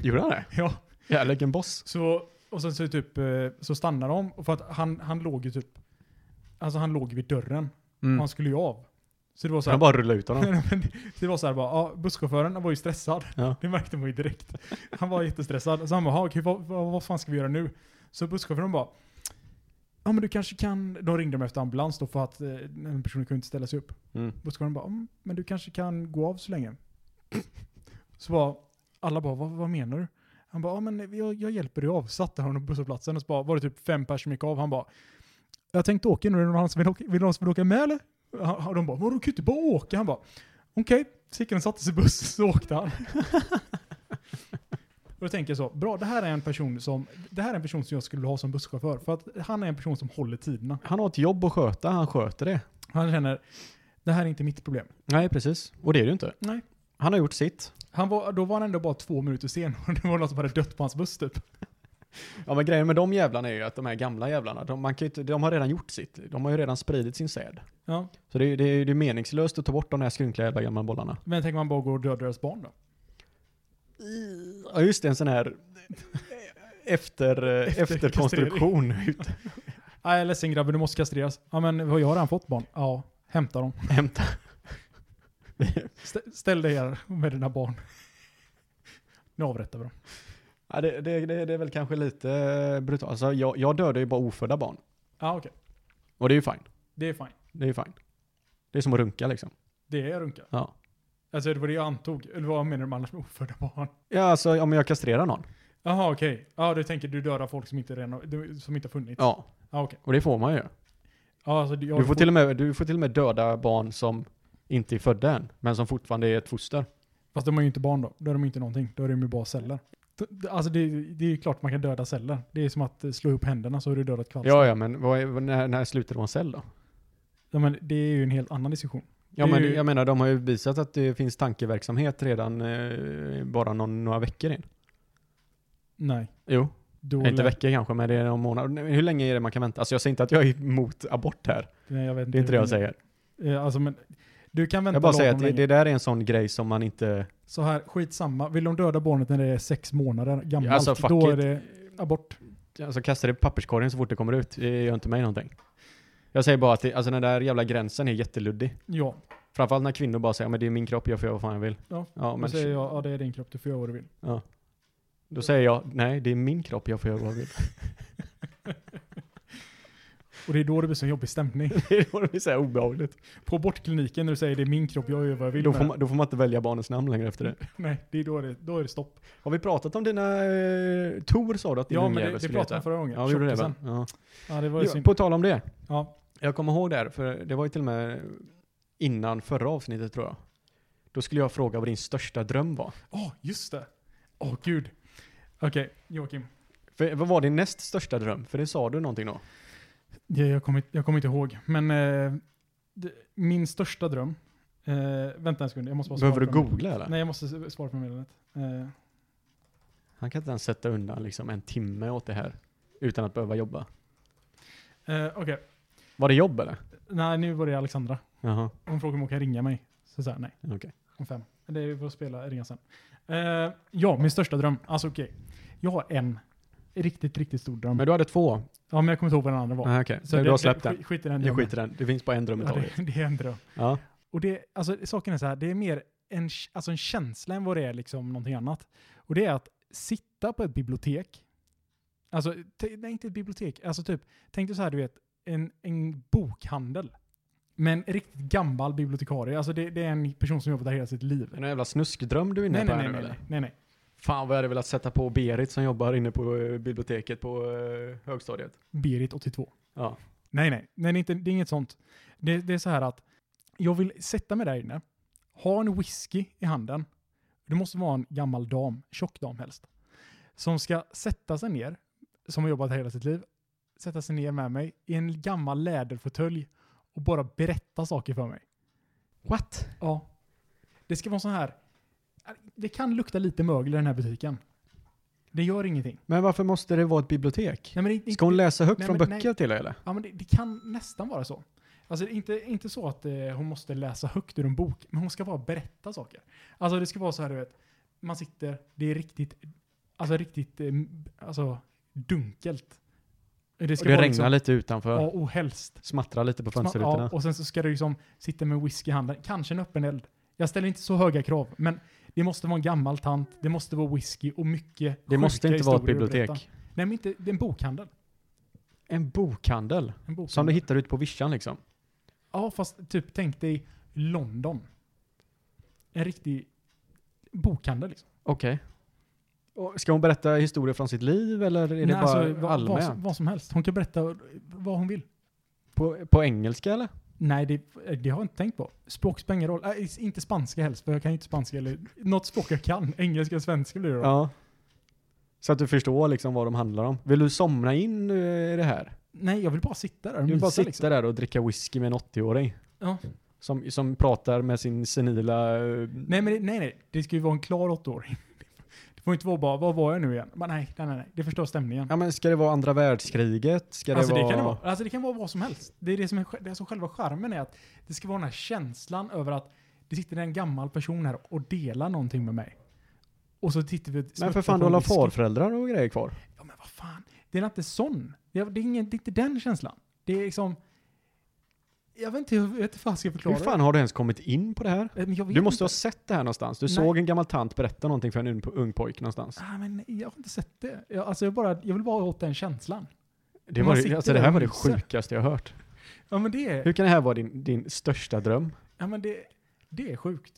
Gjorde han det?
Ja.
Jävlar vilken boss.
Så, och sen så, typ, eh, så stannade de, och för att han, han låg ju typ, alltså han låg vid dörren, och han skulle ju av. Så det var så här,
Han Mm. bara rullade ut honom.
Nej, men det- det var så här bara, ja, busschauffören han var ju stressad.
Ja.
Det märkte man ju direkt. Han var jättestressad. Så han bara, "Ja, okej, vad, vad, vad fan ska vi göra nu? Så busschauffören bara, ja men du kanske kan, de ringde dem efter ambulans då för att eh, en person kunde inte ställa sig upp.
Mm.
Busschauffören bara, mm, men du kanske kan gå av så länge. Så bara, alla bara, vad, vad menar du? Han bara, ja men jag, jag hjälper dig av. Satte honom på busshållplatsen och så bara, var det typ fem personer som gick av. Han bara, jag tänkte åka nu, är det någon som vill åka, vill någon som vill åka med eller? Han, han- de bara, vadå du kan ju inte bara åka? Han bara, okej. Så gick han och satte sig i bussen så åkte han. och då tänker jag så, bra det här är en person som, det här är en person som jag skulle ha som busschaufför. För att han är en person som håller tiderna.
Han har ett jobb att sköta, han sköter det.
Han känner, det här är inte mitt problem.
Nej, precis. Och det är det ju inte.
Nej.
Han har gjort sitt.
Han var, då var han ändå bara två minuter sen och det var någon som hade dött på hans buss typ.
Ja men grejen med de jävlarna är ju att de här gamla jävlarna, de, man kan ju inte, de har redan gjort sitt. De har ju redan spridit sin säd.
Ja.
Så det, är- det, är- det är meningslöst att ta bort de här skrynkliga jävla gamla bollarna.
Men tänker man bara gå och döda deras barn då?
Ja just det, en sån här efter, eh, efterkonstruktion.
Nej, Ah, jag är ledsen grabben, du måste kastreras. Ja men jag har redan fått barn. Ja, hämta dem.
Hämta.
Stä- ställ dig här med dina barn. Nu avrättar vi dem.
Ja, det, det, det, det är väl kanske lite brutalt. Alltså, jag, jag dödar ju bara ofödda barn.
Ja okej,
Och det är ju fine.
det är fine.
Det är ju fine. Det är som att runka liksom.
Det är runka.
Ja.
Alltså det var det jag antog. Eller vad menar du annars med ofödda barn?
Ja, alltså om jag kastrerar någon.
Jaha okej. Ja du tänker du dödar folk som inte redan har- som inte har funnits?
Ja.
Ja okej.
Och det får man ju.
Ja, alltså, jag,
Du får, till och med, du får till och med döda barn som inte är födda än, men som fortfarande är ett foster.
Alltså. Fast de är ju inte barn då. Då är de ju inte någonting. Då är de ju bara celler. D- d- Alltså det, det är ju klart man kan döda celler. Det är som att eh, slå ihop händerna så har du dödat kvalster.
Ja, ja, men vad är, när, när slutar de vara en cell då?
Ja, men det är ju en helt annan diskussion.
Ja,
Det är
men
ju-
jag menar, de har ju visat att det finns tankeverksamhet redan eh, bara någon, några veckor in.
Nej.
Jo,
Då
inte
lär-
veckor kanske, men det är någon månad. Nej, Hur länge är det man kan vänta? Alltså jag säger inte att jag är emot abort här.
Nej, jag vet
Det är inte det jag säger.
Eh, Alltså, men, du kan vänta
Jag bara säger
lagom
att det,
länge.
det där är en sån grej som man inte...
Så här, skitsamma. Vill de döda barnet när det är sex månader gammalt,
Alltså, fuck
då är
it.
det abort.
Alltså kasta det i papperskorgen så fort det kommer ut. Det gör inte mig någonting. Jag säger bara att det, alltså den där jävla gränsen är jätteluddig.
Ja.
Framförallt när kvinnor bara säger men det är min kropp, jag får göra vad fan jag vill.
Ja,
ja
Då
men
säger jag, ja det är din kropp, du får göra vad du vill.
då säger jag nej, det är min kropp, jag får göra vad jag vill.
Och det är då det blir så jobbig stämning.
det är då det blir så här obehagligt.
På abortkliniken när du säger det är min kropp, jag gör vad jag vill
Då
med
får,
Mm. den."
man, då får man inte välja barnens namn längre efter det.
Nej, det är då, det, då är det stopp.
Har vi pratat om dina... Eh, Tor sa du att din
Ja, men
ungjävel
det, det
skulle
pratade
heta.
vi förra gången.
Ja, vi gjorde det va?
Tjockisen.
Ja.
Ja, det var ju
Jo,
synd.
På tal om det.
Ja.
Jag kommer ihåg det här, för det var ju till och med innan förra avsnittet tror jag. Då skulle jag fråga vad din största dröm var.
Åh, just det. Åh, gud. Okej, Joakim.
För, vad var din näst största dröm? För det sa du någonting då.
Jag, jag, kommer, jag kommer inte ihåg, men eh, det, min största dröm... Eh, vänta en sekund, jag måste bara
Behöver du
på den.
googla eller?
Nej, jag måste s- svara på meddelandet. Eh,
Han kan inte ens sätta undan liksom en timme åt det här. utan att behöva jobba.
Eh, Okej,
Var det jobb eller?
nej nu var det Alexandra.
Jaha.
Hon frågade om hon kan ringa mig. Så sa jag nej.
Okej.
Om fem. Eller vi får spela, ringa sen. Eh, ja, min största dröm. Alltså okej. Jag har en riktigt, riktigt stor dröm.
Men du hade två?
ja, men jag kommer inte ihåg vad den andra var.
Nej, Ah, okej.
Så
Du
det-
har
det-
släppt
sk-
den.
Skit i den
Du
drömmen.
skiter i den. Det finns bara en dröm i
Ja,
taget.
det, det är en dröm.
Ja.
Och det, alltså, saken är så här, det är mer en, k- alltså en känsla än vad det är liksom någonting annat. Och det är att sitta på ett bibliotek. Alltså, t- nej inte ett bibliotek. Alltså typ, tänk dig så här du vet, en, en bokhandel. Med en riktigt gammal bibliotekarie. Alltså det, det är en person som jobbat där hela sitt liv.
Det är någon jävla snuskdröm du är inne
Nej,
på
nej,
här nu
nej, nej,
eller?
nej, nej, nej.
Fan vad jag hade velat sätta på Berit som jobbar inne på eh, biblioteket på eh, högstadiet.
Berit 82.
Ja.
Nej, nej. nej det, är inte, det är inget sånt. Det, det är så här att jag vill sätta mig där inne, ha en whisky i handen. Det måste vara en gammal dam, tjock dam helst, som ska sätta sig ner, som har jobbat här hela sitt liv, sätta sig ner med mig i en gammal läderfåtölj och bara berätta saker för mig.
What?
Ja. Det ska vara så här. Det kan lukta lite mögel i den här butiken. Det gör ingenting.
Men varför måste det vara ett bibliotek?
Nej, men det, det,
Ska hon läsa högt
Nej,
från
men
böcker till dig eller?
Ja, men det, det kan nästan vara så. Alltså det är inte, inte så att eh, hon måste läsa högt ur en bok, men hon ska bara berätta saker. Alltså det ska vara så här, du vet, man sitter, det är riktigt, alltså riktigt, eh, alltså dunkelt. Det
Och det regnar
liksom,
lite utanför.
Ja, och helst.
Smattrar lite på
Sma- Ja,
fönsterrutorna.
och sen så ska du liksom sitta med whisky i handen, kanske en öppen eld. Jag ställer inte så höga krav, men det måste vara en gammal tant, det måste vara whisky och mycket
det måste
sjuka
inte vara ett
historier att
bibliotek.
berätta. Nej, men inte, det är en bokhandel.
En bokhandel.
En bokhandel.
Som du hittar ute på vischan liksom.
Ja, fast typ tänk dig London. En riktig bokhandel liksom.
Okej. Och Ska hon berätta historier från sitt liv eller är det
Nej,
bara
alltså, vad-
allmänt?
Vad, som- vad som helst. Hon kan berätta vad hon vill.
På, på engelska eller?
Nej, det, det har jag inte tänkt på. Språk spelar ingen roll. Äh, inte spanska helst, för jag kan ju inte spanska. Eller, något språk jag kan. Engelska och svenska blir det då.
Ja. Så att du förstår liksom vad de handlar om. Vill du somna in eh, i det här?
Nej, jag vill bara sitta där och
Du vill bara
mysa
sitta
liksom.
där och dricka whisky med en 80-åring.
Ja.
Som, som pratar med sin senila... eh,
Nej, men det, nej, nej. Det ska ju vara en klar åttaåring. Det får inte vara bara, vad var jag nu igen? Men nej, nej, nej, nej. Det förstör stämningen.
Ja men ska det vara andra världskriget? Ska
alltså
det
det
vara...
kan det vara. Alltså det kan vara vad som helst. Det är det som är det är alltså själva charmen är att det ska vara den här känslan över att det sitter en gammal person här och delar någonting med mig. Och så tittar vi och
Men
smuttar
för fan,
på
du har
whisky.
farföräldrar och grejer kvar.
Ja men vad fan. Det är inte sån. Det är, det är, ingen, det är inte den känslan. Det är liksom... Jag vet inte hur jag vet inte fan ska jag
Hur
förklara
fan har du ens kommit in på det här?
det. Eh, Men jag vet
Du måste ha
inte.
sett det här någonstans. Du
Nej.
såg en gammal tant berätta någonting för en un- ung pojk någonstans.
Ah, men jag har inte sett det. Jag, alltså jag, bara, jag vill bara åt den känslan.
Det,
Man
var,
sitter
det- alltså, det
där
här
och
var det
myser.
sjukaste jag har hört.
Ja men det är,
Hur kan det här vara din, din största dröm?
ja, men det, det är sjukt.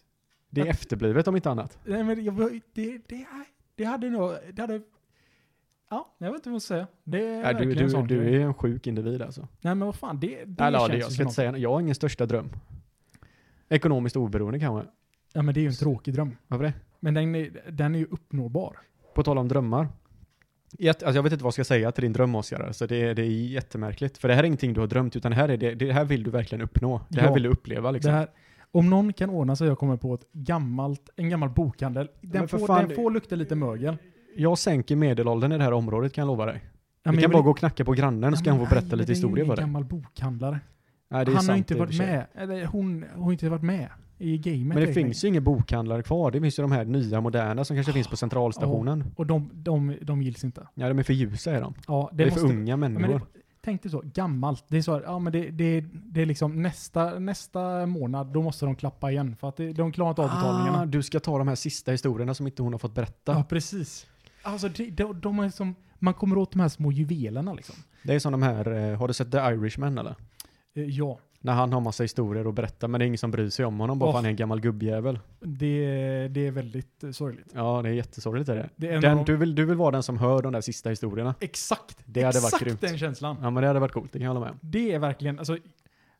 Det är
Att-
efterblivet om inte annat.
Nej men jag, det, det, det hade nog, det hade, ja, jag vet inte vad jag ska säga. Det är
Nej, du,
verkligen en
du,
sån grej.
du är en sjuk individ alltså.
Nej men vad fan, det, det
Nej,
känns
ja,
ju
det, jag ska
som
inte
något.
säga Jag har ingen största dröm. Ekonomiskt oberoende kanske.
Ja men det är ju en tråkig dröm.
Varför det?
Men den är, den är ju uppnåbar.
På tal om drömmar. Jätte- Alltså jag vet inte vad jag ska säga till din dröm Oscar, alltså det, är- det är jättemärkligt. För det här är ingenting du har drömt, utan det här, är det, det här vill du verkligen uppnå. Det här
Ja.
vill du uppleva liksom.
Det här, om någon kan ordna sig, jag kommer på ett gammalt, en gammal bokhandel. Den,
men för
får,
fan,
den
det-
får lukta lite mögel.
Jag sänker medelåldern i det här området kan jag lova dig.
Ja,
vi
men
kan
jag
bara
vill-
gå och knacka på grannen
Ja,
och så kan
men
hon få
nej,
berätta
men
lite
Det är
historia
ju
för
ingen
dig.
gammal bokhandlare.
Nej, det är
Han har
sant i
inte
och för
varit
sig.
med, eller hon har inte varit med i gamet.
Men det
riktigt.
finns ju ingen bokhandlare kvar. Det finns ju de här nya moderna som kanske
Ah.
finns på centralstationen.
Och de, de, de gills inte.
Ja, de är för ljusa är de.
Ja, det,
Det, är
måste,
för unga
Ja, Men
människor.
det, tänk dig så, gammalt. Det är så här, ja men det, det, det är liksom nästa, nästa månad, då måste de klappa igen för att det, de klarar inte av betalningarna.
Ah, du ska ta de här sista historierna som inte hon har fått berätta.
ja, precis. Alltså det, de, de är som, man kommer åt de här små juvelerna liksom.
Det är som de här, eh, har du sett The Irishman eller?
Eh, Ja,
När han har massa historier att berätta men det är ingen som bryr sig om honom bara
Åh.
för han är en gammal gubbjävel.
det, det är väldigt eh, sorgligt.
Ja, det är jättesorgligt är det.
Det är en av
Den,
de,
du, vill, du vill vara den som hör de där sista historierna.
exakt,
Det hade varit
exakt
grymt.
den känslan.
Ja men det hade varit coolt, det kan jag hålla med om.
Det är verkligen, alltså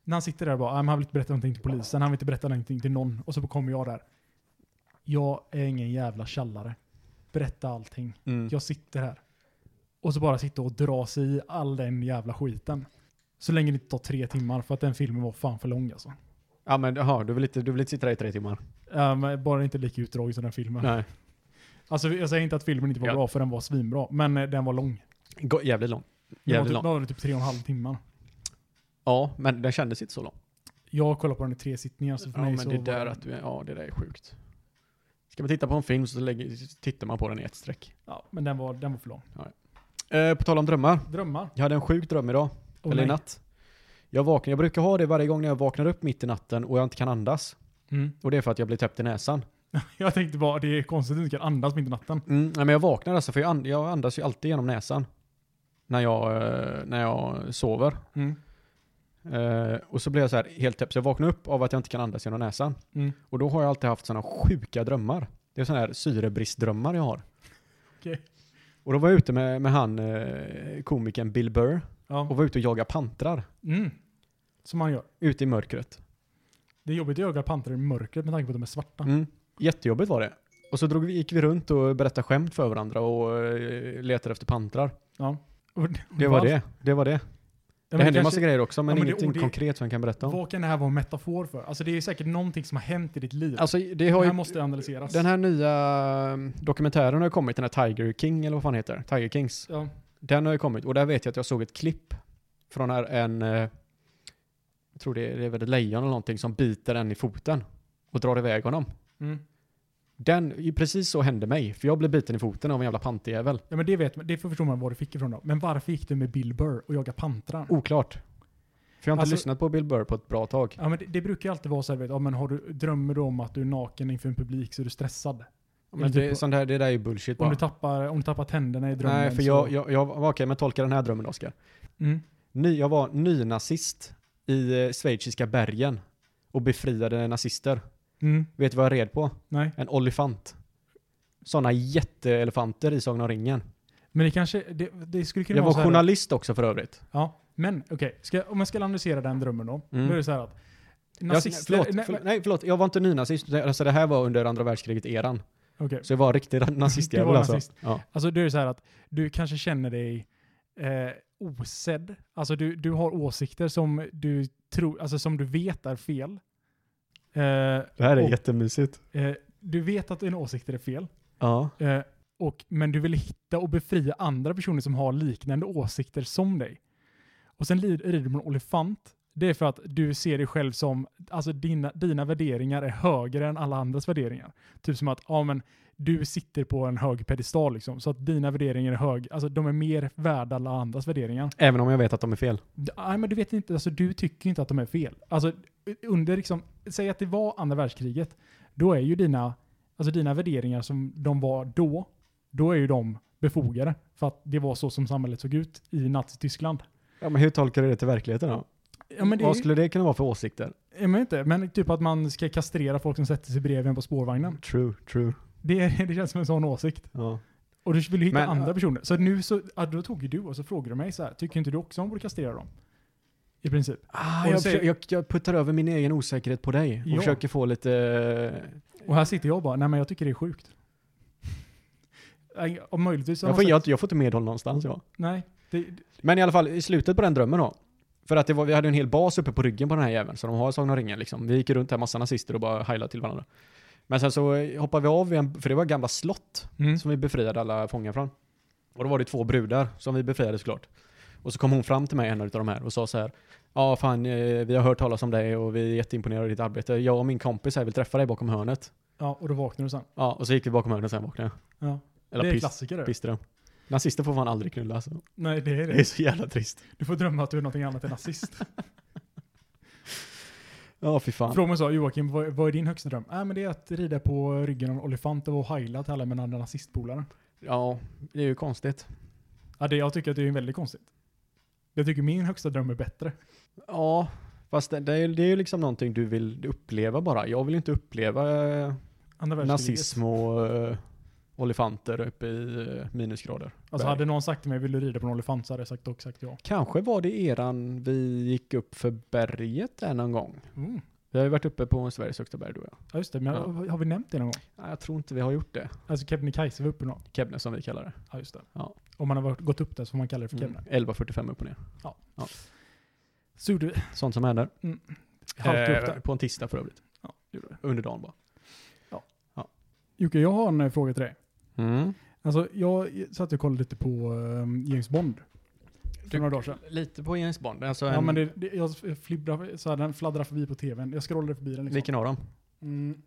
när han sitter där och bara, "Ah, men han vill inte berätta någonting till polisen, han vill inte berätta någonting till någon. Och så kommer jag där. Jag är ingen jävla tjallare. Berätta allting.
Mm.
Jag sitter här. Och så bara sitta och dra sig i all den jävla skiten. Så länge det inte tar tre timmar för att den filmen var fan för lång alltså.
Ja men jaha, du vill inte, du vill inte sitta där i tre timmar?
Eh, men bara inte lika utdragen som den filmen.
Nej.
Alltså jag säger inte att filmen inte var
Ja.
bra för den var svinbra, men eh, den var lång.
Gå- Jävligt lång.
Den var
Jävligt
typ,
lång.
var det typ tre och en halv timmar.
Ja, men den kändes inte så lång. Jag
Jag kollade på den i tre sittningar, så för
ja,
mig
men
så
det
var
där
den-
att du, ja, det där är sjukt. Ska man titta på en film så lägger, så tittar man på den i ett streck.
ja, men den var, den var för lång.
Eh, på tal om drömmar.
Drömmar?
Jag hade en sjuk dröm idag.
Åh,
eller i
nej.
natt. Jag vaknar, jag brukar ha det varje gång när jag vaknar upp mitt i natten och jag inte kan andas.
Mm.
Och det är för att jag blir täppt i näsan.
Jag tänkte bara, det är konstigt att du inte kan andas mitt i natten.
Mm, nej, men jag vaknar alltså, för jag, and, jag andas ju alltid genom näsan. När jag, eh, när jag sover.
Mm.
Eh, och så blir jag så här helt täppt. Så jag vaknar upp av att jag inte kan andas genom näsan.
Mm.
Och då har jag alltid haft sådana sjuka drömmar. Det är sådana här syrebristdrömmar jag har.
Okej.
Och då var jag ute med, med han, eh, komikern Bill Burr, och
Ja.
var ute och jagade pantrar
Mm. Som man gör.
ute i mörkret.
Det är jobbigt att jaga pantrar i mörkret med tanke på att de är svarta.
Mm. Jättejobbigt var det. Och så drog vi, gick vi runt och berättade skämt för varandra och eh, letade efter pantrar.
Och-
Det var det. Det var det.
Ja, men
det hände en
kanske-
massa grejer också, men,
Ja, men det-
ingenting
och det-
konkret som jag kan berätta om.
Vad kan det här vara en metafor för? Alltså det är säkert någonting som har hänt i ditt liv.
Alltså, det
det
har
här
ju,
måste analyseras.
den här nya eh, dokumentären har ju kommit, den här Tiger King, eller vad fan heter det? Tiger Kings.
ja.
Den har ju kommit, och där vet jag att jag såg ett klipp från här en, eh, jag tror det är, det är väl ett lejon eller någonting, som biter en i foten och drar iväg honom.
Mm.
Den, precis så hände mig, för jag blev biten i foten av en jävla pantjävel.
ja men det vet man, det förstår man var du fick ifrån då. Men varför gick du med Bill Burr och jagade pantrar?
Oklart. För jag har inte
Alltså-
lyssnat på Bill Burr på ett bra tag.
Ja, men det, det brukar ju alltid vara så här, vet, ja, men har du, drömmer du om att du är naken inför en publik så är du stressad.
Men
typ-
det, sånt där, det där är ju bullshit
Om
bara.
du, tappar, om du tappar tänderna i drömmen.
Nej, för
så-
jag, jag, jag var- okej, men tolka den här drömmen Oskar.
Mm.
Ny, jag var nynazist i eh, schweiziska bergen och befriade nazister.
Mm.
Vet du vad jag red på?
Nej.
En olifant. Sådana jätteelefanter i Sagan om ringen.
Men det kanske, det, det skulle kunna
Jag
vara
var
så här-
journalist också för övrigt.
Ja, men okej. Ska- Om jag ska analysera den drömmen då.
Mm.
Då är det så här att...
Jag,
Nazister...
förlåt,
nej,
förlåt, nej, förlåt, jag var inte nynazist. Alltså det här var under andra världskriget-eran.
men- okej.
Så jag var riktig
Du
nazistjävel
var
alltså.
nazist.
Ja.
Alltså det är så här att du kanske känner dig eh, osedd. Alltså du, du har åsikter som du, tror, alltså som du vet är fel. Eh,
Det här
är Och-
jättemysigt.
eh, du vet att dina åsikter är fel.
Ja.
Eh, och, men du vill hitta och befria andra personer som har liknande åsikter som dig. Och sen lid- rider du på en olifant. Det är för att du ser dig själv som, alltså dina, dina värderingar är högre än alla andras värderingar. Typ som att, ja men du sitter på en hög pedestal liksom, så att dina värderingar är hög, alltså de är mer värda alla andras värderingar.
Även om jag vet att de är fel.
D- Nej men du vet inte, alltså du tycker inte att de är fel. Alltså under liksom, säg att det var andra världskriget, då är ju dina, alltså dina värderingar som de var då, då är ju de befogade. För att det var så som samhället såg ut i Nazityskland.
Ja, men hur tolkar du det till verkligheten då?
Ja men det
Vad
är ju,
skulle det kunna vara för åsikter?
jag menar inte, men typ att man ska kastrera folk som sätter sig bredvid en på spårvagnen.
True, true.
Det, är- det känns som en sån åsikt.
Ja.
Och du vill ju hitta
Men,
andra
äh,
personer. Så nu så, ja, då tog ju du och så frågade du mig så här, tycker inte du också om att kastrera dem? I princip.
Ah,
Och
jag,
säger-
försöker- jag, jag puttar över min egen osäkerhet på dig och
Ja.
försöker få lite... eh,
Och här sitter jag och bara, nej men jag tycker det är sjukt. Nej, Och möjligtvis har
Jag
man
får,
sett-
jag, jag får inte medhåll någonstans. Ja.
Nej, det,
Men i alla fall, i slutet på den drömmen då. För att det var, vi hade en hel bas uppe på ryggen på den här jäveln, så de har Sagan om ringen liksom. Vi gick runt här, massa nazister och bara heilade till varandra. Men sen så eh, hoppade vi av, vid en- för det var gamla slott.
mm.
som vi befriade alla fångar från. Och då var det två brudar som vi befriade såklart. Och så kom hon fram till mig, en av de här, och sa så här. Ja, fan, eh, vi har hört talas om dig och vi är jätteimponerade av ditt arbete. Jag och min kompis här vill träffa dig bakom hörnet.
ja, och då vaknar du sen.
Ja, och så gick vi bakom hörnet och sen vaknade jag.
Ja. det är
Eller
en
piss,
klassiker det.
pissade de. Nazister får fan aldrig knulla alltså.
Nej, det är
Det är
det.
så jävla trist.
Du får drömma att du är någonting annat än nazist.
Ja, fy fan.
Frågan sa, Joakim, vad, vad är din högsta dröm? Äh, men det är att rida på ryggen av en olifant och heila till alla mina andra nazistpolare.
Ja, det är ju konstigt.
Ja, det, jag tycker att det är väldigt konstigt. Jag tycker min högsta dröm är bättre.
Ja, fast det, det är ju det är ju liksom någonting du vill uppleva bara. Jag vill inte uppleva eh,
Andra världskriget.
nazism och eh, olifanter uppe i eh, minusgrader.
Alltså hade någon sagt till mig, vill du rida på en olifant så hade jag sagt och sagt ja.
Kanske var det eran vi gick upp för berget där någon gång.
Mm.
Vi har ju varit uppe på Sveriges högsta berg du och jag.
Ja just det, men
Ja.
har- har vi nämnt det någon gång?
Nej, jag tror inte vi har gjort det.
Alltså Kebnekaise var uppe någon
Kebne som vi kallar det.
Ja, just det.
Ja.
Om man har varit, gått upp där så får man kalla det för
Mm.
Kebne.
11.45 upp och ner.
Så gjorde vi
Sånt som händer.
halvt upp
Eh,
där.
på en tisdag för övrigt.
Ja,
Under dagen bara.
Jocke, jag har en eh, fråga till dig.
Mm.
Alltså, jag satt och kollade lite på eh, James ehm, Bond. för några dagar sedan.
Lite på James Bond. Alltså en,
Ja, men det, det, jag flibbrar, så här, den fladdrar förbi på tvn. Jag scrollade förbi den liksom.
Vilken av dem?
Mm.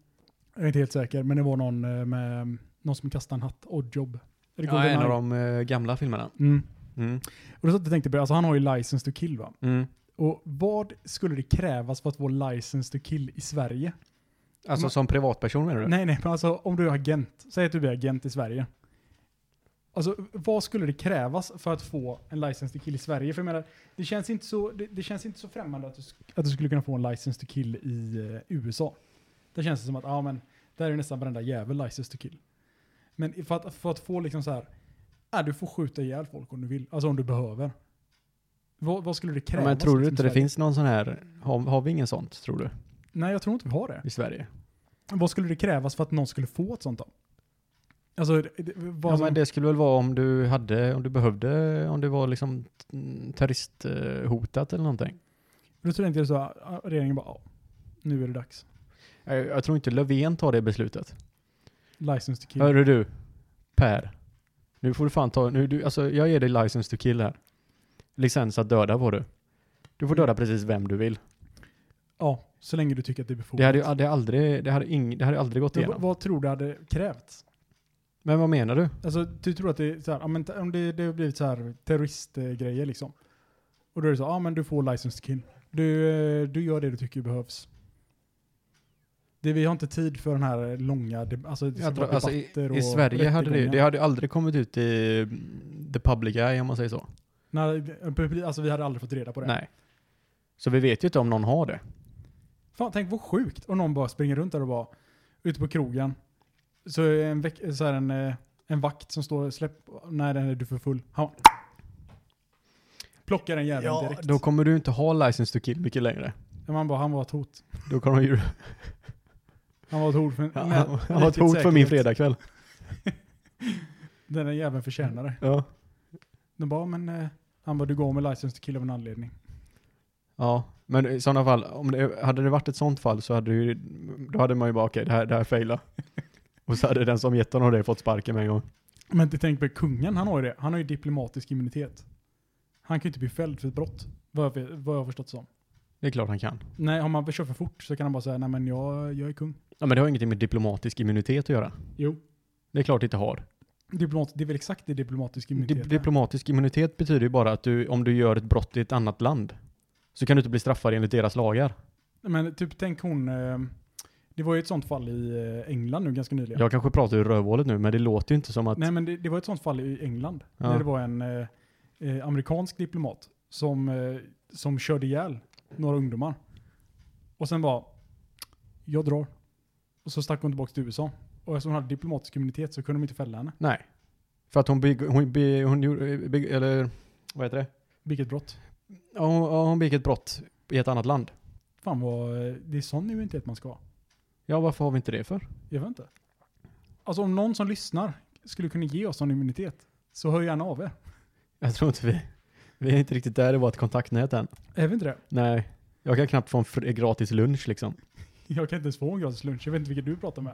Jag är inte helt säker, men det var någon eh, med någon som kastade en hatt. Oddjob. Är det
Ja, en av
GoldenEye?
de eh, gamla filmerna.
Mm.
Mm.
Och då satt jag och tänkte på det, alltså han har ju license to kill va?
Mm.
Och vad skulle det krävas för att få license to kill i Sverige?
Alltså
Men-
som privatperson menar du?
Mm. Nej, nej, men alltså om du är agent. Säg att du blir agent i Sverige. Alltså vad skulle det krävas för att få en license to kill i Sverige? För jag menar, det känns inte så, det, det känns inte så främmande att du, sk- att du skulle kunna få en license to kill i eh, USA. Där känns det som att, ja men, där är nästan varenda jävel license to kill. Men för att, för att få liksom så här, ja du får skjuta ihjäl folk om du vill, alltså om du behöver. Vad, vad skulle det
Ja,
krävas?
men tror du
liksom, i
inte det
Sverige?
finns någon sån här, har, har vi ingen sånt tror du?
Nej, jag tror inte vi har det.
I Sverige?
Vad skulle det krävas för att någon skulle få ett sånt då? Alltså, det- det- vad
Ja,
som-
men det skulle väl vara om du hade, om du behövde, om du var liksom mm, terroristhotat eller någonting.
Då tror jag inte det är så att regeringen bara, ja, nu är det dags.
Jag, jag tror inte Löfven tar det beslutet.
License to kill.
Hörru du, Per. Nu får du fan ta, nu, du, alltså jag ger dig license to kill här. Licens att döda får du. Du får
Mm.
döda precis vem du vill.
Ja, så länge du tycker att det är befogat.
Det hade ju det hade aldrig, det hade ing, det hade aldrig gått
Oh. Men vad-
igenom.
vad tror du hade krävts?
Men vad menar du?
Alltså, du tror att det är så här, ja, men t- om det, det har blivit så här terroristgrejer liksom. Och då är det så, ja men du får license to kill. Du, eh, du gör det du tycker behövs. Det, vi har inte tid för den här långa, de- alltså, det ska
Jag tror,
vara
alltså, i,
debatter
I
och
Sverige hade det,
rättegångar.
det hade aldrig kommit ut i mm, the public eye om man säger så.
Nej, det- alltså vi hade aldrig fått reda på det.
Nej. Så vi vet ju inte om någon har det.
Fan, tänk vad sjukt om någon bara springer runt där och bara, ute på krogen, så är en, väck, så här en, eh, en vakt som står och släpp, nej den är du för full. Han plockar en jävel direkt.
då kommer du inte ha license to kill mycket längre.
Man bara, han var ett hot.
Då kommer ju...
Han var ett hot. För,
Han
med
har ett
riktigt
hot för min
säkerhet.
fredagkväll.
Den där jäveln förtjänar det.
Ja.
De bara, men eh, han bara, du går med license to kill av en anledning.
Ja, men i sådana fall, om det, hade det varit ett sånt fall så hade, det ju, då hade man ju bara okej, det här, det här failar. Och så hade den som gett honom det fått sparken med en gång.
Men inte tänk på kungen, han har ju det. Han har ju diplomatisk immunitet. Han kan ju inte bli fälld för ett brott, vad jag, vet- vad jag har förstått som.
Det är klart han kan.
Nej, om man kör för fort så kan han bara säga, nej men jag, jag är kung.
Ja, men det har ingenting med diplomatisk immunitet att göra.
Jo.
Det är klart det inte har.
Diplomat, det är väl exakt det diplomatisk immunitet
Di-
är.
diplomatisk immunitet betyder ju bara att du, om du gör ett brott i ett annat land så kan du inte bli straffad enligt deras lagar.
Men typ tänk hon, eh, det var ju ett sånt fall i eh, England nu ganska nyligen.
Jag kanske pratar ur rövhålet nu, men det låter ju inte som att...
Nej men det, det var ett sånt fall i England.
Ja.
När det var en eh, eh, amerikansk diplomat som, eh, som körde ihjäl några ungdomar. Och sen var jag drar. Och så stack hon tillbaka till USA. Och eftersom hon hade diplomatisk immunitet så kunde de inte fälla henne.
Nej. För att hon bygg, hon, be, hon gjorde, bygg, eller vad heter det?
Vilket brott.
Ja, hon, ja, hon begick ett brott i ett annat land.
Fan vad, eh, det är sån immunitet man ska ha.
Ja, varför har vi inte det för?
Jag vet inte. Alltså om någon som lyssnar skulle kunna ge oss sån immunitet så hör gärna av er.
Jag tror inte vi... Vi är inte riktigt där i vårt kontaktnät än.
Är vi inte det?
Nej. Jag kan knappt få en fr- gratis lunch liksom.
Jag kan inte ens få en gratis lunch. Jag vet inte vilka du pratar med.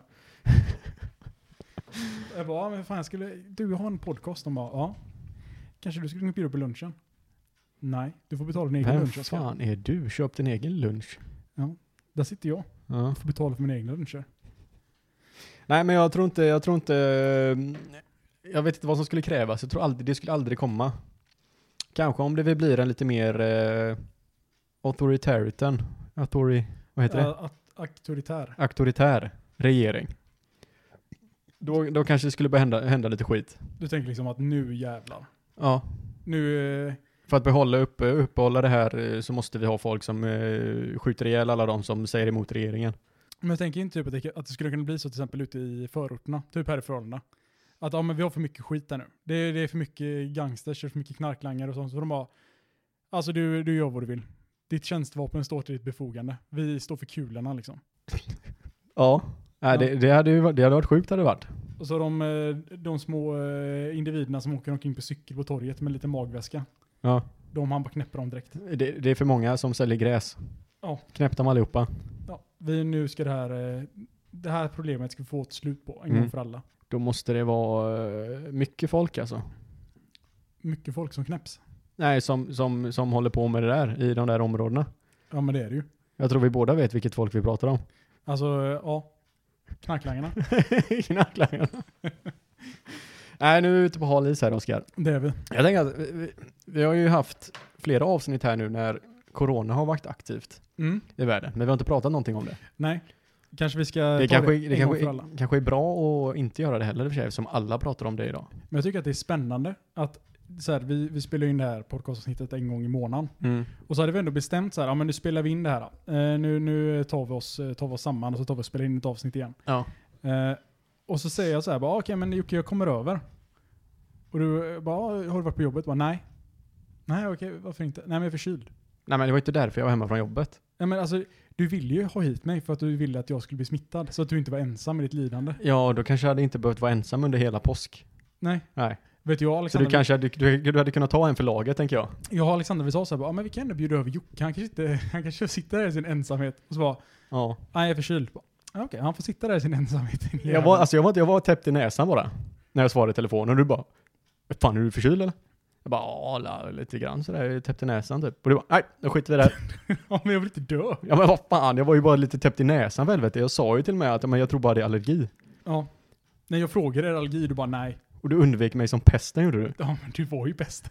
jag bara, "Ja, men fan jag skulle, du har en podcast. De bara, ja. Kanske du skulle kunna bjuda på lunchen? Nej, du får betala din egen
Vem
lunch. Oskar."
fan är du? Köp din egen lunch.
Där sitter jag
Ja.
och får betala för mina egna luncher.
Nej, men jag tror inte... Jag tror inte... eh, Jag vet inte vad som skulle krävas. Jag tror aldrig... Det skulle aldrig komma. Kanske om det väl blir en lite mer... Eh, authoritarian. Authori... Vad heter det?
Äh, att, auktoritär.
Auktoritär regering. Då, då kanske det skulle börja hända, hända lite skit.
Du tänker liksom att nu jävlar.
Ja.
Nu, eh,
För att behålla uppe, uppehålla det här eh, så måste vi ha folk som eh, skjuter ihjäl alla de som säger emot regeringen.
Men jag tänker inte typ att det, att det skulle kunna bli så till exempel ute i förorterna, typ här i förhållandena. Att ja, men vi har för mycket skit där nu. Det, är- det är för mycket gangsters, det är för mycket knarklangare och sånt. Så de bara, alltså du, du gör vad du vill. Ditt tjänstevapen står till ditt befogande. Vi står för kulorna liksom.
Ja. Nej, det, det, hade ju, varit- det hade varit sjukt hade det varit.
Och så de, eh, de små eh, individerna som åker omkring på cykel på torget med lite magväska.
Ja.
De han bara knäpper dem direkt.
Det, det är för många som säljer gräs.
Ja.
Knäpp dem allihopa.
Ja, vi nu ska det här, eh, det här problemet ska vi få ett slut på en
Mm.
gång för alla.
Då måste det vara eh, mycket folk alltså.
Mycket folk som knäpps.
Nej, som, som, som håller på med det där i de där områdena.
Ja men det är det ju.
Jag tror vi båda vet vilket folk vi pratar om.
Alltså, ja. Knarklangarna.
Knarklangarna. Nej, nu är vi ute på hal is här Oskar.
Det är vi.
Jag tänker att vi, vi, vi har ju haft flera avsnitt här nu när corona har varit aktivt
Mm.
i världen, men vi har inte pratat någonting om det.
Nej. Kanske vi ska
Det
Eh, ta
kanske,
det,
det
en gång för
kanske,
alla.
kanske är bra att inte göra det heller i och för sig, eftersom alla pratar om det idag.
Men jag tycker att det är spännande att så här, vi, vi spelar in det här podcastavsnittet en gång i månaden. Och så hade vi ändå bestämt så här, ja men nu spelar vi in det här. Eh, nu nu tar, vi oss, eh, tar vi oss samman och så tar vi och spelar in ett avsnitt igen.
Ja.
Eh, och så säger jag så här, bara, "Ah, okej men Jocke jag kommer över. Och du eh, bara, "Ah, har du varit på jobbet? Bara, nej. Nej okej, varför inte? Nej men jag är förkyld.
Nej, men det var inte därför jag var hemma från jobbet.
Nej men alltså, du ville ju ha hit mig för att du ville att jag skulle bli smittad. Så att du inte var ensam i ditt lidande.
Ja, då kanske jag hade inte behövt vara ensam under hela påsk.
Nej.
Nej.
Vet du, jag och
Så du
Alexander,
kanske hade, du, du hade kunnat ta en för laget, tänker jag.
jag och Alexander vi sa så här, bara, "Ah, men vi kan ändå bjuda över Jocke. Han kanske, inte, han kanske sitter där i sin ensamhet. Och så bara,
Ja.
nej jag är förkyld. Bara, "Ah, Okej, han får sitta där i sin ensamhet. din
Jag
jävel."
var, alltså jag var, inte- jag var täppt i näsan bara. När jag svarade i telefonen och du bara "Vad Fan är du förkyld eller? Jag bara ja, la- lite grann sådär, jag är täppt i näsan typ. Och du bara nej, då skiter vi i det här.
Ja, men jag vill inte dö.
Ja men vad fan, jag var ju bara lite täppt i näsan för helvete. Jag sa ju till mig att men jag tror bara det är allergi.
Ja. När jag frågade är det allergi, du bara nej.
Och du undvek mig som pesten gjorde du.
Ja, men du var ju bäst.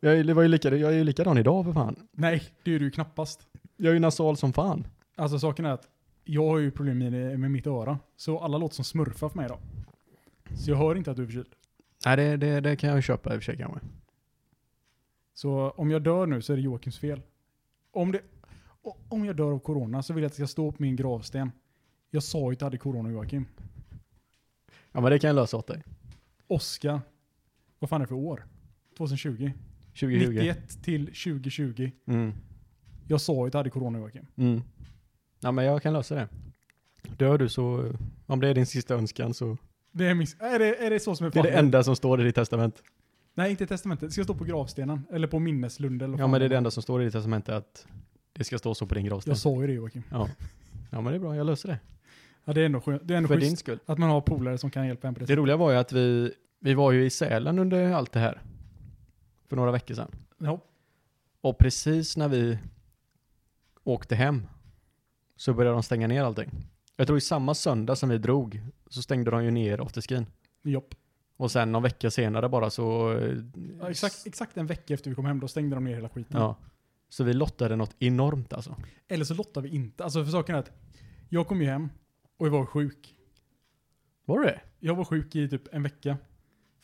Jag, är- det var ju lika, jag är ju likadan idag för fan.
Nej, det är du ju knappast.
Jag är ju nasal som fan.
Alltså saken är att jag har ju problem med, med mitt öra. Så alla låter som smurfar för mig idag. Så jag hör inte att du är förkyld.
Nej det, det, det kan jag ju köpa i och för sig kanske.
Så om jag dör nu så är det Joakims fel. Om, det, o- om jag dör av corona så vill jag att det ska stå på min gravsten. Jag sa ju att jag hade corona Joakim.
Ja men det kan jag lösa åt dig.
Oskar, vad fan är det för år? 2020?
2020.
91 till 2020.
Mm.
Jag sa ju att jag hade corona Joakim.
Mm. Ja men jag kan lösa det. Dör du så, om det är din sista önskan så
Det är, min, är, det, är det så som är
Det är det
planen?
enda som står i ditt testament.
Nej, inte i testamentet. Det ska stå på gravstenen. Eller på minneslunden. Eller vad
Ja
fan
men det är det
var.
enda som står i ditt testament är att det ska stå så på din gravsten.
Jag sa ju det Joakim.
Ja men det är bra, jag löser det.
Ja, det är ändå skönt. Det är ändå
För din
schysst
skull.
att man har polare som kan hjälpa en på det
Det
sättet.
roliga var ju att vi, vi var ju i Sälen under allt det här. För några veckor sedan.
Ja.
Och precis när vi åkte hem så började de stänga ner allting. Jag tror i samma söndag som vi drog så stängde de ju ner afterskin.
Jopp.
Och sen någon vecka senare bara så... eh,
Ja, exakt, exakt en vecka efter vi kom hem, då stängde de ner hela skiten.
Ja. Så vi lottade något enormt alltså.
Eller så lottar vi inte. Alltså för saken är att jag kom ju hem och jag var sjuk.
Var det
Jag var sjuk i typ en vecka.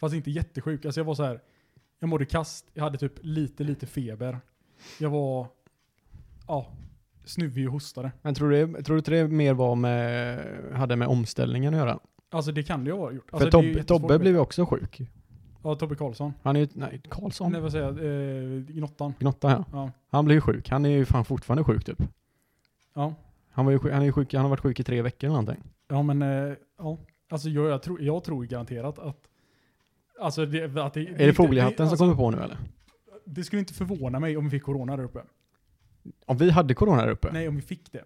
Fast inte jättesjuk. Alltså jag var så här. Jag mådde kast. Jag hade typ lite, lite feber. Jag var, ja, snuvig och hostade.
Men tror du, tror du inte det mer var med, hade med omställningen att göra?
Alltså det kan det ju ha gjort. Alltså,
För
det är ju
Tobbe,
jättesvårt
Tobbe
att
blev ju också sjuk.
veta. Ja, Tobbe Karlsson.
Han är ju, nej, Karlsson.
Nej, vad säger jag? Eh, Gnottan.
Gnotta ja.
Ja.
Han blev ju sjuk. Han är ju fan fortfarande sjuk typ.
Ja.
Han, var ju sjuk, han, är ju sjuk, han har varit sjuk i tre veckor eller någonting.
Ja, men eh, ja. Alltså jag, jag, tror, jag tror garanterat att... Alltså det, att det,
Är det foliehatten som
alltså,
kommer på nu eller?
Det skulle inte förvåna mig om vi fick corona där uppe.
Om vi hade corona där uppe.
Nej, om vi fick det.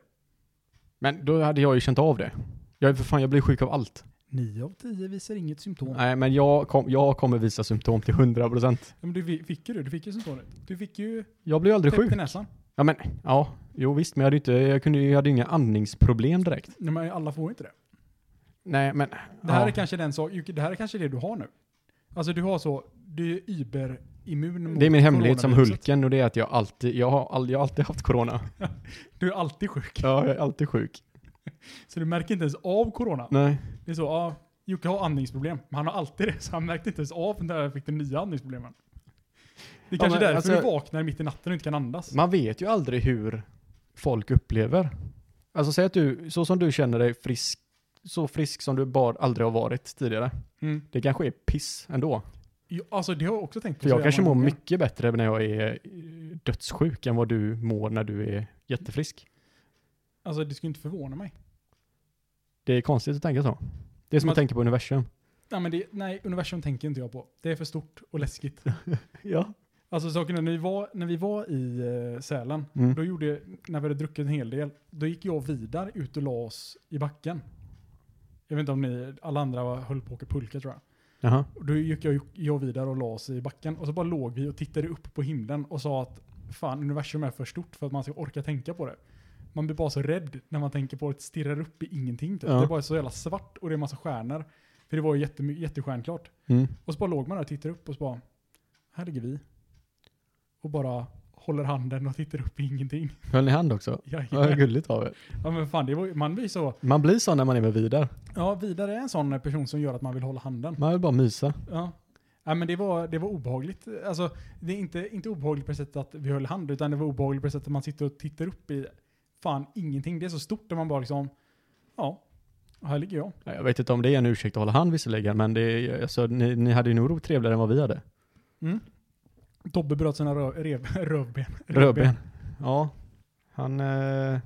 Men då hade jag ju känt av det. Jag är för fan, jag blir sjuk av allt.
9 av 10 visar inget symptom. Nej.
Nej men jag, kom, jag kommer visa symptom till 100%.
Men du fi- fick ju det. Du fick ju symptomet. Du fick ju
Jag blir ju aldrig
täppt
sjuk.
i näsan.
Ja men, ja. Jo visst, men jag hade ju inte, jag kunde ju, jag hade ju inga andningsproblem direkt.
Nej, men alla får ju inte det.
Nej men,
Det här
ja.
är kanske den sak, Jocke, det här är kanske det du har nu. Alltså du har så, du är überimmun mot
Det är min hemlighet som
coronaviruset.
Hulken och det är att jag alltid, jag har, all, jag har alltid haft corona.
Du är alltid sjuk.
Ja, jag är alltid sjuk.
Så du märker inte ens av corona.
Nej.
Det är så, ja, Jocke har andningsproblem. Men han har alltid det, så han märkte inte ens av när jag fick de nya andningsproblemen. Det är
Ja,
kanske
men
därför
alltså-
du vaknar mitt i natten och inte kan andas.
Man vet ju aldrig hur folk upplever. Alltså säg att du, så som du känner dig frisk, så frisk som du bara aldrig har varit tidigare.
Mm.
Det kanske är piss ändå.
Jo, Alltså det har jag också tänkt på.
För
så
jag
jävla
kanske mår
många gånger.
mycket bättre när jag är eh, dödssjuk än vad du mår när du är jättefrisk.
Alltså det skulle inte förvåna mig.
Det är konstigt att tänka så. Det är som
Men-
att tänka på universum.
Nej, men det, nej, universum tänker inte jag på. Det är för stort och läskigt.
Ja.
Alltså saken är, när vi var, när vi var i eh, Sälen,
Mm.
då gjorde, när vi hade druckit en hel del, då gick jag och Vidar ut och la oss i backen. Jag vet inte om ni, alla andra var, höll på att åka pulka tror jag.
Jaha.
Och Då gick jag, jag vidare och la oss i backen och så bara låg vi och tittade upp på himlen och sa att fan universum är för stort för att man ska orka tänka på det. Man blir bara så rädd när man tänker på det, stirrar upp i ingenting. Typ.
Ja.
Det är bara så jävla svart och det är massa stjärnor. För det var ju jättemy- jättestjärnklart.
Mm.
Och så bara låg man där och tittade upp och så bara, här ligger vi. Och bara håller handen och tittar upp i ingenting.
Höll ni hand också?
Ja,
Ja,
ja.
gulligt av er.
ja men fan, det var, ju- man blir så,
Man blir så när man är med Vidar.
ja vidare är en sån person som gör att man vill hålla handen.
Man vill bara mysa.
Ja. Ja, men det var, det var obehagligt. Alltså, det är inte, inte obehagligt på det sättet att vi höll hand, utan det var obehagligt på det sättet att man sitter och tittar upp i fan ingenting. Det är så stort där man bara liksom, ja, här ligger jag.
Ja, Jag vet inte om det är en ursäkt att hålla hand visserligen, men det är, alltså, ni, ni hade ju nog ro trevligare än vad vi hade.
Tobbe bröt sina röv, rev, rövben.
Rödben. Ja, han eh,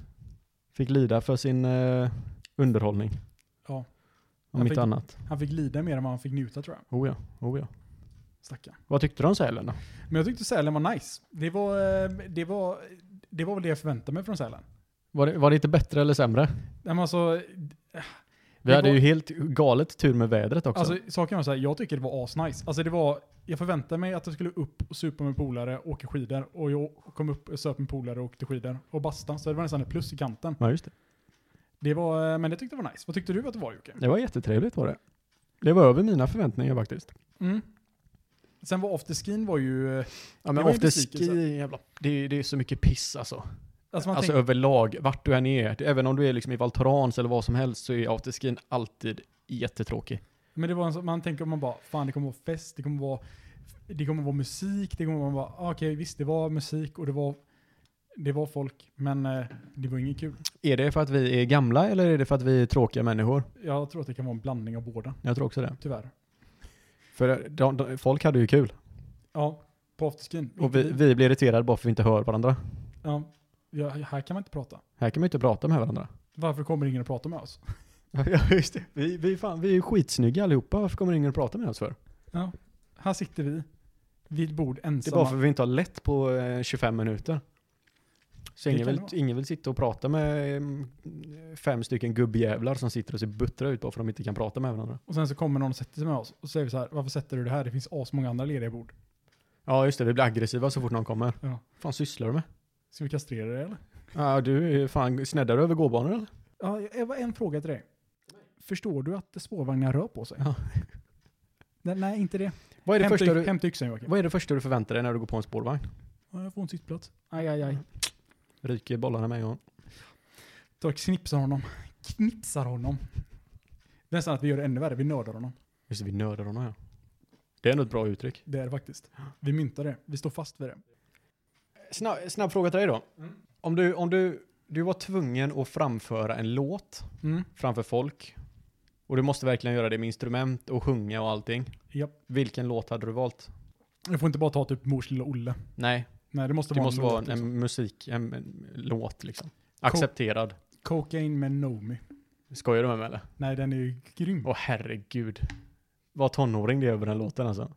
fick lida för sin eh, underhållning.
Ja.
Om
Han
inte
fick-
annat.
Han fick lida mer än vad han fick njuta tror jag.
Oh ja, oh ja.
Stackarn.
Vad tyckte du om sälen då?
Men jag tyckte Sälen var nice. Det var, eh, det var, det var väl det jag förväntade mig från Sälen.
Var det, var det inte bättre eller sämre?
Nej, men alltså,
Vi
Det
hade
var-
ju helt galet tur med vädret också.
Alltså, saken var så här, jag tycker det var asnice. Alltså det var, jag förväntade mig att jag skulle upp och supa med polare och åka skidor. Och jag kom upp och söp med polare och åkte skidor. Och basta. Så det var nästan ett plus i kanten.
ja, just det.
Det var, eh, men det tyckte jag var nice. Vad tyckte du att det var Jocke?
Det var jättetrevligt var det. Det var över mina förväntningar faktiskt.
Mm. Sen var afterskin var ju...
Ja
eh, men
men
var ju
after
besvikelse.
ski, jävla, det, är- det är så mycket piss alltså.
Alltså man
alltså
tänk,
överlag, vart du än är. det- Även om du är liksom i Valtorans eller vad som helst så är afterskin alltid jättetråkig.
men det var en, sån- man tänker man bara, fan det kommer vara fest, det kommer vara, det kommer vara musik, det kommer vara, bara, ah, okej visst det var musik och det var, det var folk, men eh, det var inget kul.
Är det för att vi är gamla eller är det för att vi är tråkiga människor?
Jag tror att det kan vara en blandning av båda,
Jag tror också det.
tyvärr.
För eh, de, de, folk hade ju kul.
Ja, på afterskin.
Och vi, vi blir irriterade bara för att vi inte hör varandra.
Ja, ja, här kan man inte prata.
Här kan man ju inte prata med varandra.
Varför kommer ingen att prata med oss?
Ja, just det. Vi, vi, fan, vi är ju skitsnygga allihopa. Varför kommer ingen att prata med oss för?
Här sitter vi vid ett bord
Det är
ensamma.
bara för att vi inte har lätt på eh, 25 minuter. Så
Det
ingen
kan
vill,
det vara.
ingen vill sitta och prata med mm, fem stycken gubbjävlar som sitter och ser buttra ut bara för att de inte kan prata med varandra.
Och sen så kommer någon och sätter sig med oss och säger vi så här, varför sätter du det här? Det finns asmånga andra lediga bord.
Ja just det, vi blir aggressiva så fort någon kommer.
Ja.
fan sysslar du med?
Ska vi kastrera dig eller?
Ja, du är fan, sneddar du över gåbanor eller?
Ja, jag har en fråga till dig. Förstår du att spårvagnar rör på sig?
Ja.
Nej, nej, inte det.
Vad är, det
Hämta,
första
du...
du,
hämta yxan Joakim.
vad är det första du förväntar dig när du går på en spårvagn?
Ja, jag får en sittplats. Aj, aj, aj.
Ryker bollarna med en gång.
Tar och knipsar honom. Knipsar honom. Nästan att vi gör det ännu värre, vi nördar honom.
Just det, vi nördar honom här. Det är nog ett bra uttryck.
Det är det faktiskt. Vi myntar det, vi står fast vid det.
Snabb, snabb fråga till dig då.
Mm.
Om, du, om du, du var tvungen att framföra en låt
Mm.
framför folk och du måste verkligen göra det med instrument och sjunga och allting.
Japp.
Vilken låt hade du valt?
Jag får inte bara ta typ Mors lilla Olle.
Nej,
Nej, det måste
det
vara
måste
en
vara
låt,
en,
liksom.
en musik, en, en låt liksom. Accepterad.
Cocaine med Nomi.
Skojar du med mig eller?
Nej, den är ju grym.
Åh herregud. Vad tonåring det är över den låten alltså.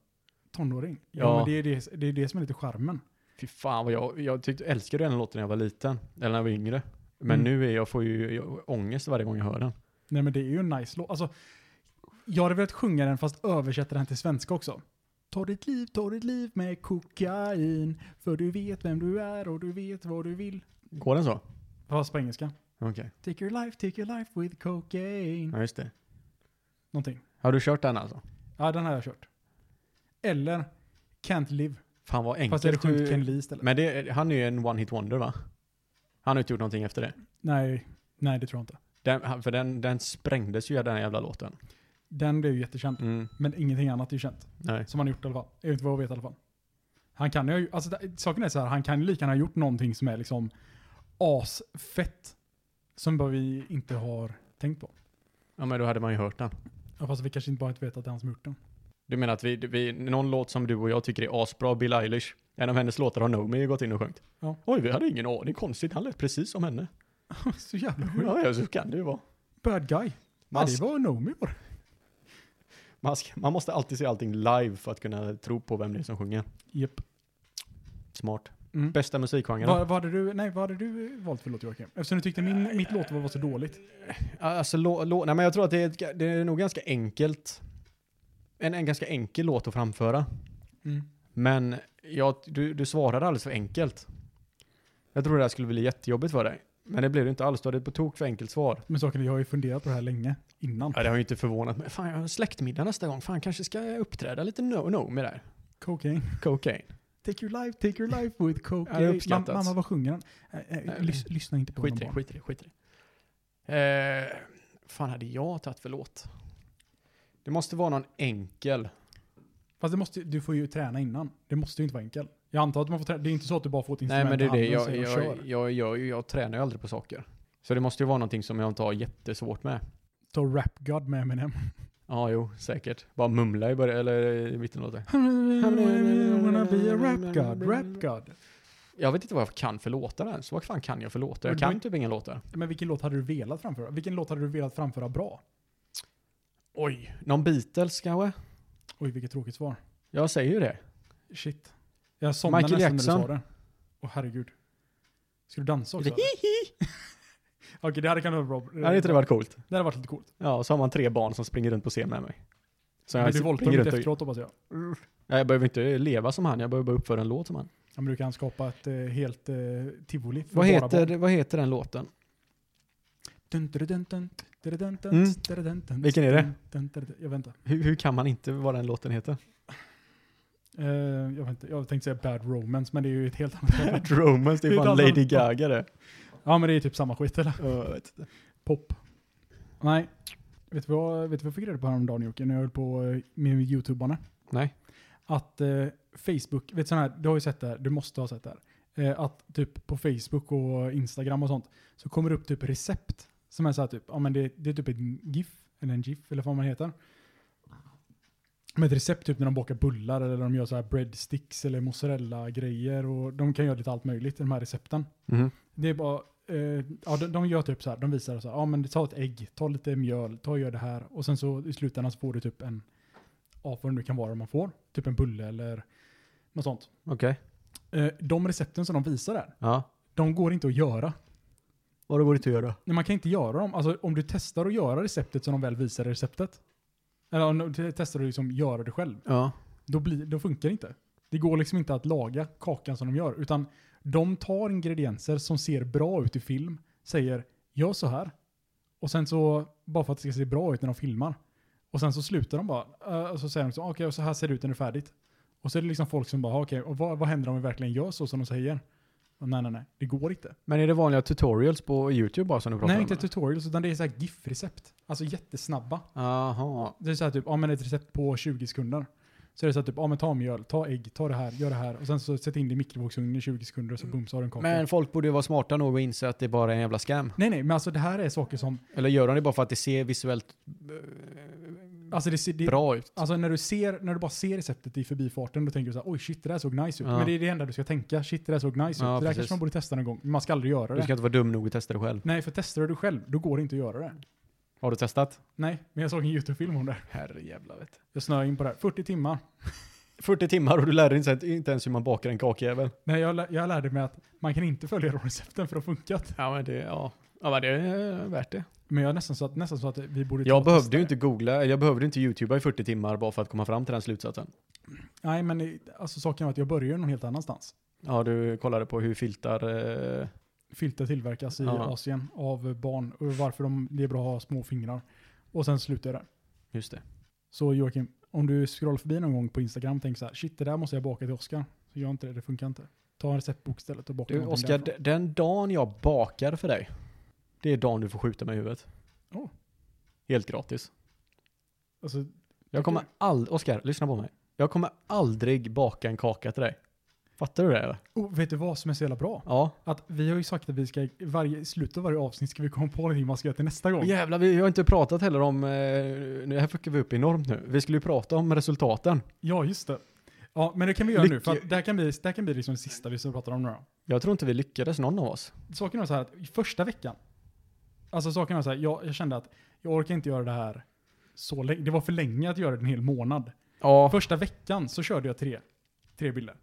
Tonåring. Ja,
Ja.
men det är det, det är det som är lite charmen.
Fy fan vad jag, jag tyckte, älskade den låten när jag var liten. Eller när jag var yngre. Men
Mm.
nu är jag, får ju jag, ångest varje gång jag hör den.
Nej, men det är ju en nice låt. Alltså, jag hade velat sjunga den fast översätta den till svenska också. Ta ditt liv, ta ditt liv med kokain. För du vet vem du är och du vet vad du vill.
Går den så?
Mm. Fast på engelska.
Okej.
Take your life, take your life with cocaine.
Ja just det.
Någonting.
Har du kört den alltså?
Ja, den har jag kört. Eller Can't live.
Fan vad enkelt.
Fast jag hade sjungit
du-
Ken Lee istället.
Men det, han är ju en one hit wonder va? Han har inte gjort någonting efter det.
Nej, nej det tror jag inte.
Den, han- för den, den sprängdes ju den här jävla låten.
Den blev ju jättekänd.
Mm.
Men ingenting annat är ju känt.
Nej.
Som han har gjort i alla fall. Enligt vad jag vet i alla fall. Han kan ju, alltså det- saken är så här, han kan ju lika gärna ha gjort någonting som är liksom asfett. Som bara vi inte har tänkt på.
Ja men då hade man ju hört den.
Ja, fast vi kanske inte bara inte vet att det är han som har gjort den.
Du menar att vi, vi, någon låt som du och jag tycker är asbra, Bill Eilish, en av hennes låtar har Nomi ju gått in och sjungit.
Ja.
Oj, vi hade ingen aning. Konstigt, han lät precis som henne.
så jävla sjukt.
Ja, ja, så kan det ju vara.
Bad guy. Ja,
Man,
det var Nomi var det.
man, ska, man måste alltid se allting live för att kunna tro på vem det är som sjunger.
Japp.
Smart.
Mm.
Bästa musikgenren.
Vad, vad, hade du, nej, vad hade du valt för låt Joakim? Eftersom du tyckte min, mitt låtval var så dåligt.
Eh, Alltså, lå, lå, nej, men jag tror att det är, ett- det är nog ganska enkelt. en, en ganska enkel låt att framföra.
Mm.
Men jag, du, du svarade alldeles för enkelt. Jag trodde det här skulle bli jättejobbigt för dig. Men det blev det inte alls. Du hade ett på tok för enkelt svar.
Men saken är, jag har ju funderat på det här länge innan.
Ja, det har ju inte förvånat mig. Fan, jag har en släktmiddag nästa gång. Fan, kanske ska jag uppträda lite no-no med det här.
Cocaine.
Cocaine.
Take your life, take your life with
Ja, det
cocaine.
har
Mam-
uppskattats.
mamma, vad sjunger han? Eh, eh,
Nej,
lys- lyssna inte på
Skit i
honom
det,
barn.
skit i det, skit i det. Eh, fan hade jag tagit för låt? Det måste vara någon enkel.
Fast det måste, du får ju träna innan. Det måste ju inte vara enkelt. Jag antar att man får träna. Det är inte så att du bara får ett
Nej
instrument
men det är det,
i handen och
jag,
säger,
jag,
kör.
jag, jag, jag tränar ju aldrig på saker. Så det måste ju vara någonting som jag inte har jättesvårt med.
Ta Rap God med Eminem.
Ja, jo, säkert. Bara mumla i början, eller i mitten av låten.
wanna be a rap god, rap god.
Jag vet inte vad jag kan för låtar ens. Vad fan kan jag för låtar? Jag
Men då-
kan typ inga låtar.
Men vilken låt hade du velat framföra? Vilken låt hade du velat framföra bra?
Oj, någon Beatles kanske?
Oj, vilket tråkigt svar.
Jag säger ju det.
Shit. Jag somnade
Michael
nästan
Jackson.
när du sa det. Åh herregud. Ska du dansa också? eller? Okej, det hade kunnat vara bra.
Hade inte det varit coolt?
det hade varit lite coolt.
Ja, och så har man tre barn som springer runt på scen med mig. Så
Men du våldtar dem
springer
inte
runt och...
efteråt hoppas jag.
Nej, jag behöver inte leva som han, jag behöver bara uppföra en låt som han.
Ja, men du kan skapa ett eh, helt eh, tivoli. för
Vad
bara
heter,
barn.
vad heter den låten?
Dun, dun, dun, dun, dun, dun, dun,
Mm.
dun, dun, dun,
Vilken är det?
dun, dun, dun, dun. Jag väntar.
Hur, hur kan man inte vad den låten heter?
Eh, jag, väntar. jag tänkte säga Bad Romance, men det är ju ett helt annat.
Bad Romance, det är
Det är
fan
ett annat-
Lady Gaga det.
ja, men det är typ samma skit eller?
Ja, jag vet inte.
Pop. Nej. Vet du vad, vet du vad jag fick reda på häromdagen Jocke, när jag höll på eh, med youtubarna?
Nej.
Att eh, Facebook, vet du sån här, du har ju sett det här, du måste ha sett det här. Eh, att typ på Facebook och Instagram och sånt så kommer det upp typ recept som är så här typ, ja men det, det är typ en GIF, eller en GIF eller vad man heter. Med ett recept typ när de bakar bullar eller de gör så här breadsticks eller mozzarella-grejer och de kan göra lite allt möjligt i de här recepten.
Mhm.
Det är bara, eh, ja, de, de gör typ så här, de visar så här, ja men ta ett ägg, ta lite mjöl, ta och gör det här och sen så i slutändan så får du typ en, ja vad det nu kan vara man får, typ en bulle eller något sånt.
Okej.
Eh, de recepten som de visar där,
Ja.
de går inte att göra.
Vad går det inte att göra?
Nej, man kan inte göra dem, alltså om du testar att göra receptet som de väl visar i receptet, eller om du testar att liksom göra det själv,
Ja.
då, blir, då funkar det inte. Det går liksom inte att laga kakan som de gör, utan de tar ingredienser som ser bra ut i film, säger gör så här, och sen så, bara för att det ska se bra ut när de filmar, och sen så slutar de bara, eh, och så säger de så, okej, och så här ser det ut när det är färdigt. Och så är det liksom folk som bara, okej, och vad, vad händer om vi verkligen gör så som de säger? Och nej, nej, nej, det går inte.
Men är det vanliga tutorials på YouTube bara som du pratar
Nej,
om?
inte
eller?
tutorials, utan det är så här GIF-recept. Alltså jättesnabba.
Aha.
Det är så här typ, ja men ett recept på 20 sekunder. Så är det så här typ, ja men ta mjöl, ta ägg, ta det här, gör det här. Och sen så sätt in det i mikrovågsugnen i 20 sekunder och så bums har du en kaka.
Men folk borde ju vara smarta nog att inse att det bara är en jävla scam.
Nej nej, men alltså det här är saker som,
Eller gör de det bara för att det ser visuellt
alltså det, ser- det
bra ut?
Alltså när du, ser, när du bara ser receptet i förbifarten, då tänker du så här, oj shit det där såg nice ut.
Ja.
Men det är det enda du ska tänka, shit det där såg nice
Ja,
ut. Det där
precis.
kanske man borde testa någon gång, men man ska aldrig göra
Du
det.
ska inte vara dum nog att testa det själv.
Nej, för testar du det själv, då går det inte att göra det.
Har du testat?
Nej, men jag såg en YouTube-film om det. här.
Herrejävlar vet
Jag snöade in på det här. 40 timmar.
40 timmar och du lärde dig inte- inte ens hur man bakar en kakjävel.
Nej, jag, lä- jag lärde mig att man kan inte följa de recepten för de har funkat.
Ja men det, ja. Ja men det är eh, värt det.
Men jag är nästan så att, nästan så att vi borde ta
Jag
och
behövde
testa
ju
det.
inte googla, eller jag behövde inte youtuba i 40 timmar bara för att komma fram till den slutsatsen.
Nej, men eh, alltså, saken var att jag började någon helt annanstans.
Ja, du kollade på hur filtar... Eh,
Filter tillverkas i
Ja.
Asien av barn och varför de, det är bra att ha små fingrar. Och sen slutade jag där.
just det.
Så Joakim, om du scrollar förbi någon gång på Instagram och tänker så här, shit det där måste jag baka till Oscar. Så gör inte det, det funkar inte. Ta en receptbok istället och baka
Du
någonting
Oskar,
därifrån.
d- den dagen jag bakar för dig, det är dagen du får skjuta mig i huvudet. Oh.
Åh.
Helt gratis.
Alltså,
Jag kommer aldrig, Oskar, lyssna på mig. Jag kommer aldrig baka en kaka till dig. Fattar du det eller?
oh, vet du vad som är så jävla bra?
Ja.
Att vi har ju sagt att vi ska, i varje, i slutet av varje avsnitt ska vi komma på någonting man ska göra till nästa gång.
Och jävlar, vi har inte pratat heller om, eh, nu här fuckar vi upp enormt nu. Vi skulle ju prata om resultaten.
Ja, just det. Ja, men det kan vi göra nu,
Lycka-
för att det här kan bli, det här kan bli liksom det sista vi ska prata om nu då.
Jag tror inte vi lyckades någon av oss.
Saken var så här att i första veckan, alltså saken var så här, jag, jag kände att jag orkar inte göra det här så länge. Det var för länge att göra det en hel månad.
Ja.
Första veckan så körde jag tre, tre bilder.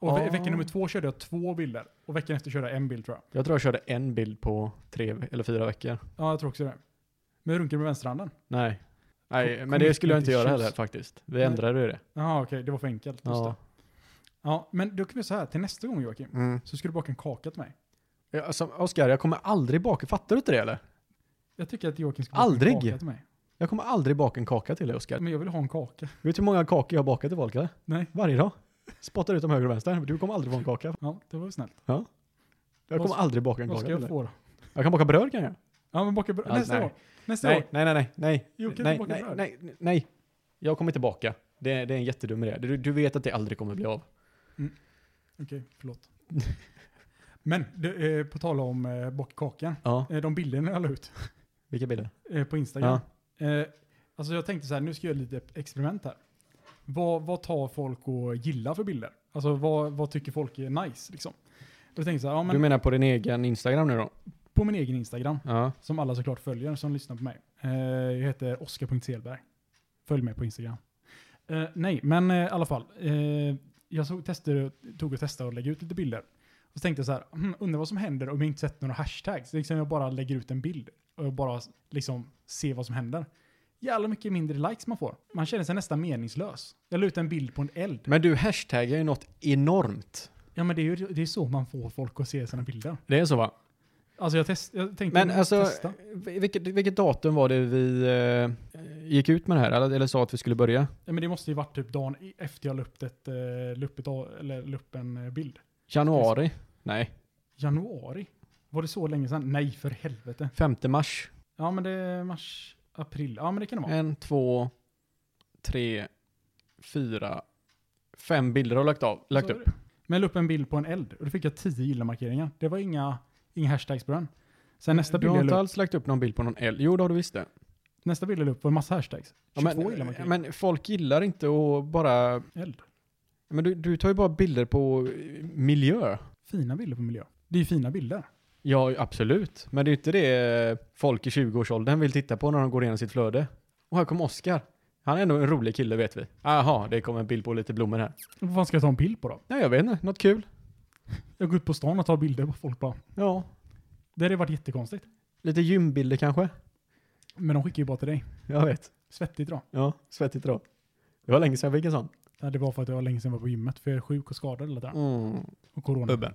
Och ve-
Ah.
vecka nummer två körde jag två bilder. Och veckan efter körde jag en bild tror jag.
Jag tror jag körde en bild på tre ve- eller fyra veckor.
Ja, jag tror också det. Men jag runkade med vänsterhanden.
Nej. Nej,
Kom-
men
kom
det
hit
skulle jag
med
inte
ditt
göra
tjus.
heller faktiskt. Vi
Nej.
ändrade ju det.
Jaha, okej, det var för enkelt. Just det.
Ja.
Ja, men då kan vi säga här, till nästa gång Joakim,
Mm.
så ska du baka en kaka till mig.
Ja, Alltså, Oskar, jag kommer aldrig baka, fattar du inte det eller?
Jag tycker att Joakim ska baka
Aldrig.
en kaka till mig.
Jag kommer aldrig baka en kaka till dig Oskar.
Men jag vill ha en kaka.
Vet du hur många kakor jag har bakat till folk eller?
Nej.
Varje dag. Spottar ut dem höger och vänster. Du kommer aldrig få en kaka.
Ja, det var snällt.
Jag
Vad
kommer
ska-
aldrig baka en
Vad
kaka
ska
till
jag
dig.
få då?
Jag kan baka bröd kan jag.
Ja, men baka bröd.
Ja,
nästa
nej.
år. Nästa
Nej,
år.
nej, nej, nej, nej.
Jo, kan
nej,
du baka
nej,
bröd?
nej, nej, nej. Jag kommer inte baka. Det, det är en jättedum idé. Du, du vet att det aldrig kommer bli av.
Okej, förlåt. men det, eh, på tal om eh, baka kakan.
Ja,
Eh, de bilderna jag la ut
vilka bilder?
eh, på Instagram. Eh, alltså jag tänkte så här, nu ska jag göra lite experiment här. Vad, vad tar folk och gillar för bilder? Alltså vad, vad tycker folk är nice liksom? Då tänkte jag så här, ja, men
Du menar på din egen Instagram nu då?
på min egen Instagram,
Ja.
som alla såklart följer som lyssnar på mig. Eh, jag heter oskar.selberg. Följ mig på Instagram. Eh, nej, men eh, i alla fall. Eh, jag såg, testade, tog och testade och lägga ut lite bilder. Och så tänkte jag så här, hmm, undrar vad som händer om jag inte sätter några hashtags. Liksom jag bara lägger ut en bild och jag bara liksom ser vad som händer. Jävla mycket mindre likes man får. Man känner sig nästan meningslös. Jag la ut en bild på en eld.
Men du hashtaggar ju något enormt.
Ja men det är ju det är så man får folk att se sina bilder.
Det är så va?
Alltså jag, test, jag tänkte
Men
jag måste
alltså,
testa.
vil- vilket, vilket datum var det vi eh, gick ut med det här? Eller, eller sa att vi skulle börja?
Ja, men det måste ju varit typ dagen i- efter jag la upp ett, eh, la upp ett, a- eller la upp en eh, bild.
Januari? Nej.
Januari? Var det så länge sedan? Nej, för helvete.
5 mars?
Ja, men det är mars, april. Ja, men det kan det vara.
En, två, tre, fyra, fem bilder har jag lagt, av, lagt
Så är
upp.
det. Men jag la upp en bild på en eld och då fick jag tio gilla-markeringar. Det var inga, inga hashtags på den. Sen nästa
Eh, Du
bild,
har
jag
inte
la upp,
alls lagt upp någon bild på någon eld? Jo, det har du visst det.
nästa bild jag la upp var en massa hashtags. 22
men, eh,
gilla-markeringar.
men folk gillar inte att bara...
eld.
Men du, du tar ju bara bilder på eh, miljö.
Fina bilder på miljö. Det är ju fina bilder.
Ja, absolut. Men det är ju inte det eh, folk i 20-årsåldern vill titta på när de går igenom sitt flöde. Och här kommer Oscar. Han är ändå en rolig kille vet vi. Aha, det kom en bild på lite blommor här.
Vad fan ska jag ta en bild på då?
Nej, jag vet inte. Något kul.
Jag går ut på stan och tar bilder på folk bara.
Ja.
Det hade varit jättekonstigt.
Lite gymbilder kanske?
Men de skickar ju bara till dig.
Jag vet.
Svettigt då.
Ja, svettigt då. Det var länge sedan jag fick en sån.
Ja, det var för att det var länge sedan jag var på gymmet, för jag är sjuk och skadad eller där.
Mm.
Och corona.
Bubben.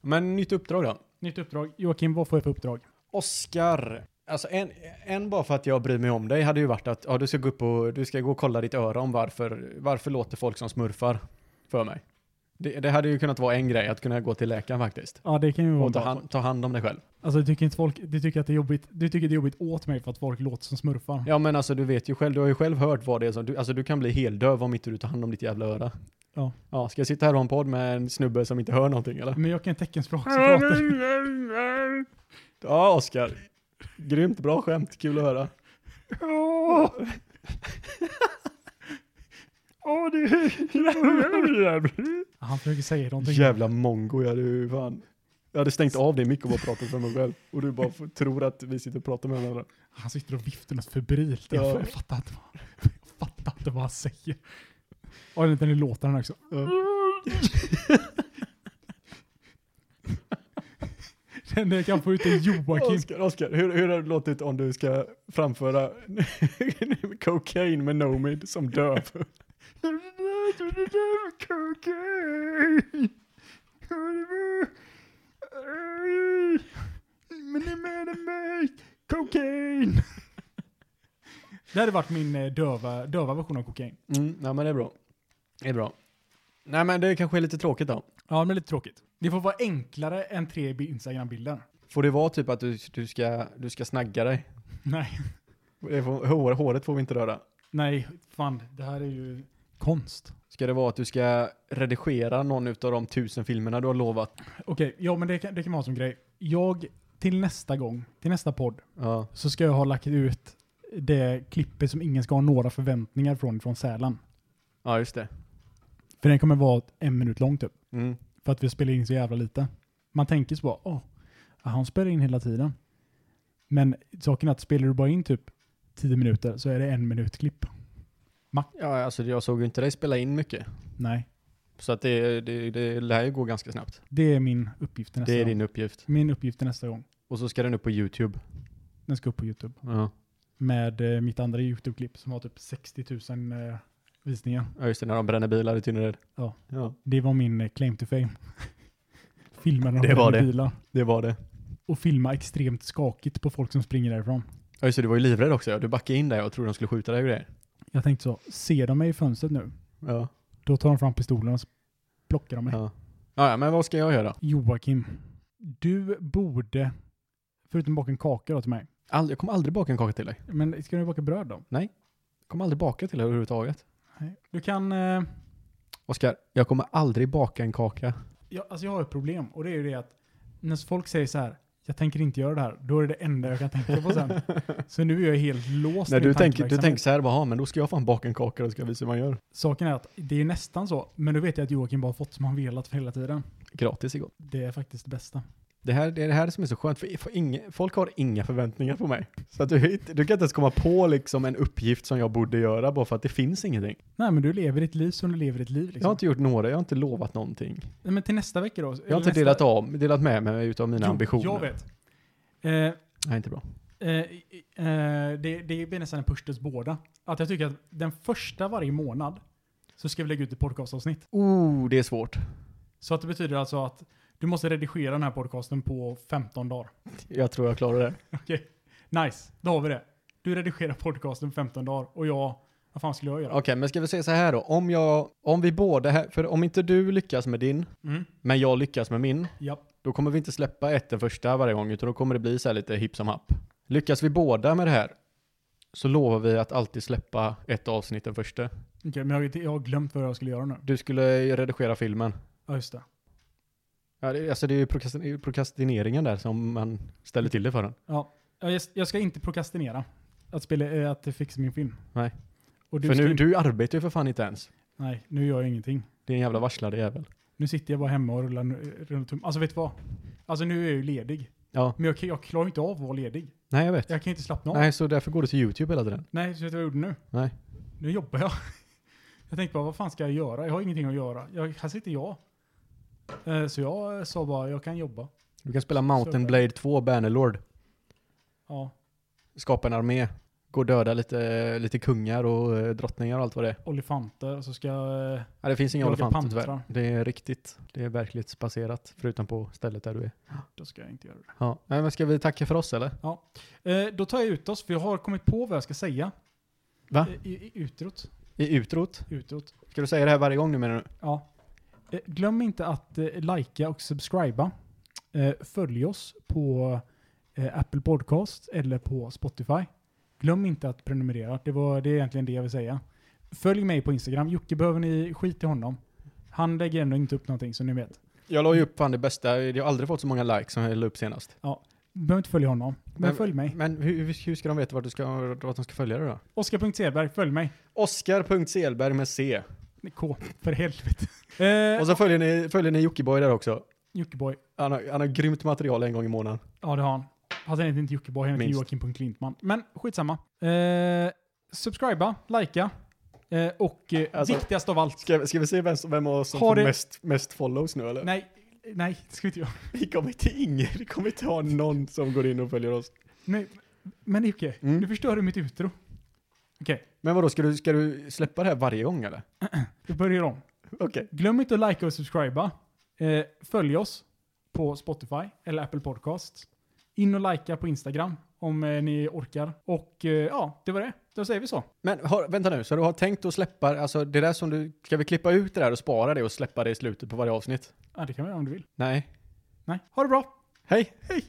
Men nytt uppdrag då.
Nytt uppdrag. Joakim, vad får jag för uppdrag?
Oscar. Alltså en, en bara för att jag bryr mig om dig hade ju varit att ja, du ska gå upp och du ska gå och kolla ditt öra om varför, varför låter folk som smurfar för mig. Det, det hade ju kunnat vara en grej att kunna gå till läkaren faktiskt.
Ja, det kan ju vara
Och ta
bra.
hand, ta hand om dig själv.
Alltså, du tycker inte folk, du tycker att det är jobbigt, du tycker det är jobbigt åt mig för att folk låter som smurfar.
Ja men alltså du vet ju själv, du har ju själv hört vad det är som, du, alltså du kan bli heldöv om inte du tar hand om ditt jävla öra.
Ja.
Ja, ska jag sitta här och ha en podd med en snubbe som inte hör någonting eller?
Men jag kan teckenspråk som pratar.
Ja, Oskar. Grymt bra skämt, kul att höra. Åh, oh, det
Han försöker säga någonting.
Jävla mongo, jag hade ju fan. Jag hade stängt av din mick och bara pratat för mig själv. Och du bara f- tror att vi sitter och pratar med varandra.
Han sitter och viftar något febrilt. Jag,
Ja.
jag fattar inte vad, jag fattar inte vad han säger. Och den lilla låten också. Den jag kan få ut är Joakim.
Oskar, Oskar, hur, hur har det låtit om du ska framföra cocaine med Nomid som döv?
Men det med mig, kokain. Det hade varit min eh, döva, döva version av kokain.
Mm, nej men det är bra. Det är bra. Nej men det kanske är lite tråkigt då.
Ja, men lite tråkigt. Det får vara enklare än tre bi- Instagram-bilder.
Får det vara typ att du, du, ska, du ska snagga dig?
Nej,
Det får, hår, håret får vi inte röra.
nej, fan, det här är ju konst.
Ska det vara att du ska redigera någon av de tusen filmerna du har lovat?
Okej, ja men det kan, det kan vara som grej. Jag, till nästa gång, till nästa podd,
Ja.
så ska jag ha lagt ut det klippet som ingen ska ha några förväntningar från, från Sälen.
Ja, just det.
För den kommer vara en minut lång typ.
Mm.
För att vi spelar in så jävla lite. Man tänker så bara, åh, ja, han spelar in hela tiden. Men saken är att spelar du bara in typ 10 minuter så är det en minut klipp.
Ja, alltså jag såg ju inte dig spela in mycket.
Nej,
Så att det, det, det lär ju gå ganska snabbt.
det är min uppgift till nästa
Det är
gång.
din uppgift.
Min uppgift till nästa gång.
Och så ska den upp på YouTube.
Den ska upp på YouTube.
Ja.
med eh, mitt andra YouTube-klipp som har typ 60 000 eh, visningar.
Ja just det, när de bränner bilar i Tynnered.
Ja.
ja.
Det var min eh, claim to fame. Filmen av
Det var det.
bilar.
Det var det.
Och filma extremt skakigt på folk som springer därifrån.
Ja just det, du var ju livrädd också. ja. Du backade in där och trodde de skulle skjuta dig och grejer.
Jag tänkte så, ser de mig i fönstret nu,
Ja.
då tar de fram pistolen och så plockar de mig.
Ja. ja. ja, men vad ska jag göra?
Joakim, du borde, förutom baka en kaka då till mig,
Ald- jag kommer aldrig baka en kaka till dig.
men ska du baka bröd då?
Jag kommer aldrig baka till dig överhuvudtaget.
Nej. Du kan, eh,
Oskar, jag kommer aldrig baka en kaka.
jag, alltså jag har ett problem och det är ju det att när folk säger så här, jag tänker inte göra det här, då är det det enda jag kan tänka på sen. så nu är jag helt låst
Nej,
i
du, tänker, du
min tankeverksamhet.
tänker så här, bara, "Ja, men då ska jag fan baka en kaka och ska jag visa hur man gör.
Saken är att det är nästan så, men då vet jag att Joakim bara fått som han velat för hela tiden.
Gratis igår.
Det är faktiskt det bästa.
Det, här, det är det här som är så skönt, för, för inga, folk har inga förväntningar på mig. Så att du, inte- du kan inte ens komma på liksom en uppgift som jag borde göra bara för att det finns ingenting.
Nej men du lever ditt liv som du lever ditt liv
Jag har
liksom.
inte gjort några, jag har inte lovat någonting.
Nej, men till nästa vecka då.
Jag har inte delat, av, delat med mig utav mina ambitioner.
Jag vet. Eh,
Nej, inte bra.
Eh, eh, det, det blir nästan en push till båda. Att jag tycker att den första varje månad så ska vi lägga ut ett podcastavsnitt.
Oh, det är svårt.
Så att det betyder alltså att du måste redigera den här podcasten på 15 dagar.
Jag tror jag klarar det.
Nice, då har vi det. Du redigerar podcasten på 15 dagar och jag, vad fan skulle jag
Okej,
göra?
men ska vi säga så här då? Om jag, om vi båda här, för om inte du lyckas med din,
Mm.
men jag lyckas med min,
Ja.
då kommer vi inte släppa ett den första varje gång, utan då kommer det bli så här lite hipp som happ. Lyckas vi båda med det här, så lovar vi att alltid släppa ett avsnitt den första.
Okej, men jag, jag har glömt vad jag skulle göra nu.
Du skulle ju redigera filmen.
Ja, just det.
Ja, det, alltså det är ju prokrastin- prokrastineringen där som man ställer till det för en.
Ja, Jag, jag ska inte prokrastinera att, spela, eh, att fixa min film.
Nej.
Och du
För
ska
nu,
inte-
du arbetar ju för fan inte ens.
Nej, nu gör jag ingenting.
Det är en jävla varslade jävel.
Nu sitter jag bara hemma och rullar, rullar tum. Alltså vet du vad? Alltså nu är jag ju ledig.
Ja,
Men jag, kan- jag klarar inte av att vara ledig.
nej jag vet.
Jag kan ju inte slappna av. Nej,
Nej, så därför går du till YouTube hela tiden.
så vet du vad jag gjorde nu?
Nej.
Nu jobbar jag. Jag tänkte bara, vad fan ska jag göra? Jag har ingenting att göra. Jag, här sitter jag. Eh, Så jag eh, sa bara, jag kan jobba.
Du kan spela Mountain
Så-
Blade 2 Bannerlord.
Ja,
skapa en armé, gå och döda lite, lite kungar och eh, drottningar och allt vad det är.
olifanter och så ska jag... eh,
Ja, det finns inga
Jaga
elefanter
pantrar.
tyvärr. Det är riktigt, det är verkligt baserat, förutom på stället där du är.
Då ska jag inte göra det.
Ja. Nej, men ska vi tacka för oss eller?
Eh, Då tar jag ut oss, för jag har kommit på vad jag ska säga.
Va?
Eh, I, i, utrot.
I utrot?
Utrot.
Ska du säga det här varje gång nu menar du?
Ja. Eh, Glöm inte att eh, likea och subscriba. Eh, Följ oss på eh, Apple Podcast eller på Spotify. Glöm inte att prenumerera. Det, var, det är egentligen det jag vill säga. Följ mig på Instagram. Jocke behöver ni skit i honom. Han lägger ändå inte upp någonting som ni vet.
Jag la ju upp fan det bästa, jag har aldrig fått så många likes som jag la upp senast.
Behöver inte följa honom, men,
Men-
följ mig.
Men hur, hur ska de veta vart, du ska, vart de ska följa dig då?
Oskar.Sedberg, följ mig.
Oskar.Selberg med C.
K, för helvete. Eh,
Och så följer ni, följer ni Jockiboi där också.
Jockiboi.
Han har, han har grymt material en gång i månaden.
Ja, det har han. Alltså, han heter inte Jockiboi, han heter
Minst.
Joakim.Klintman. Men skitsamma. Eh, subscriba, likea eh, och eh,
Alltså-
viktigast av allt.
Ska, ska vi se vem, som- vem av oss som
Har
får
det-
mest, mest follows nu eller?
Nej, nej, det ska vi inte göra.
Vi kommer inte ingen, vi kommer inte ha någon som går in och följer oss.
Nej, men Jocke,
Mm.
nu förstör du mitt utro. Okej,
Men vadå, ska du, ska du släppa det här varje gång eller?
vi börjar om.
Okej.
Glöm inte att likea och subscriba. Eh, följ oss på Spotify eller Apple Podcast. In och likea på Instagram om eh, ni orkar. Och eh, ja, det var det. Då säger vi så.
Men har, vänta nu, så du har tänkt att släppa, alltså det där som du, ska vi klippa ut det där och spara det och släppa det i slutet på varje avsnitt?
Ja, det kan vi göra om du vill.
Nej.
Nej, ha det bra.
Hej!
Hej!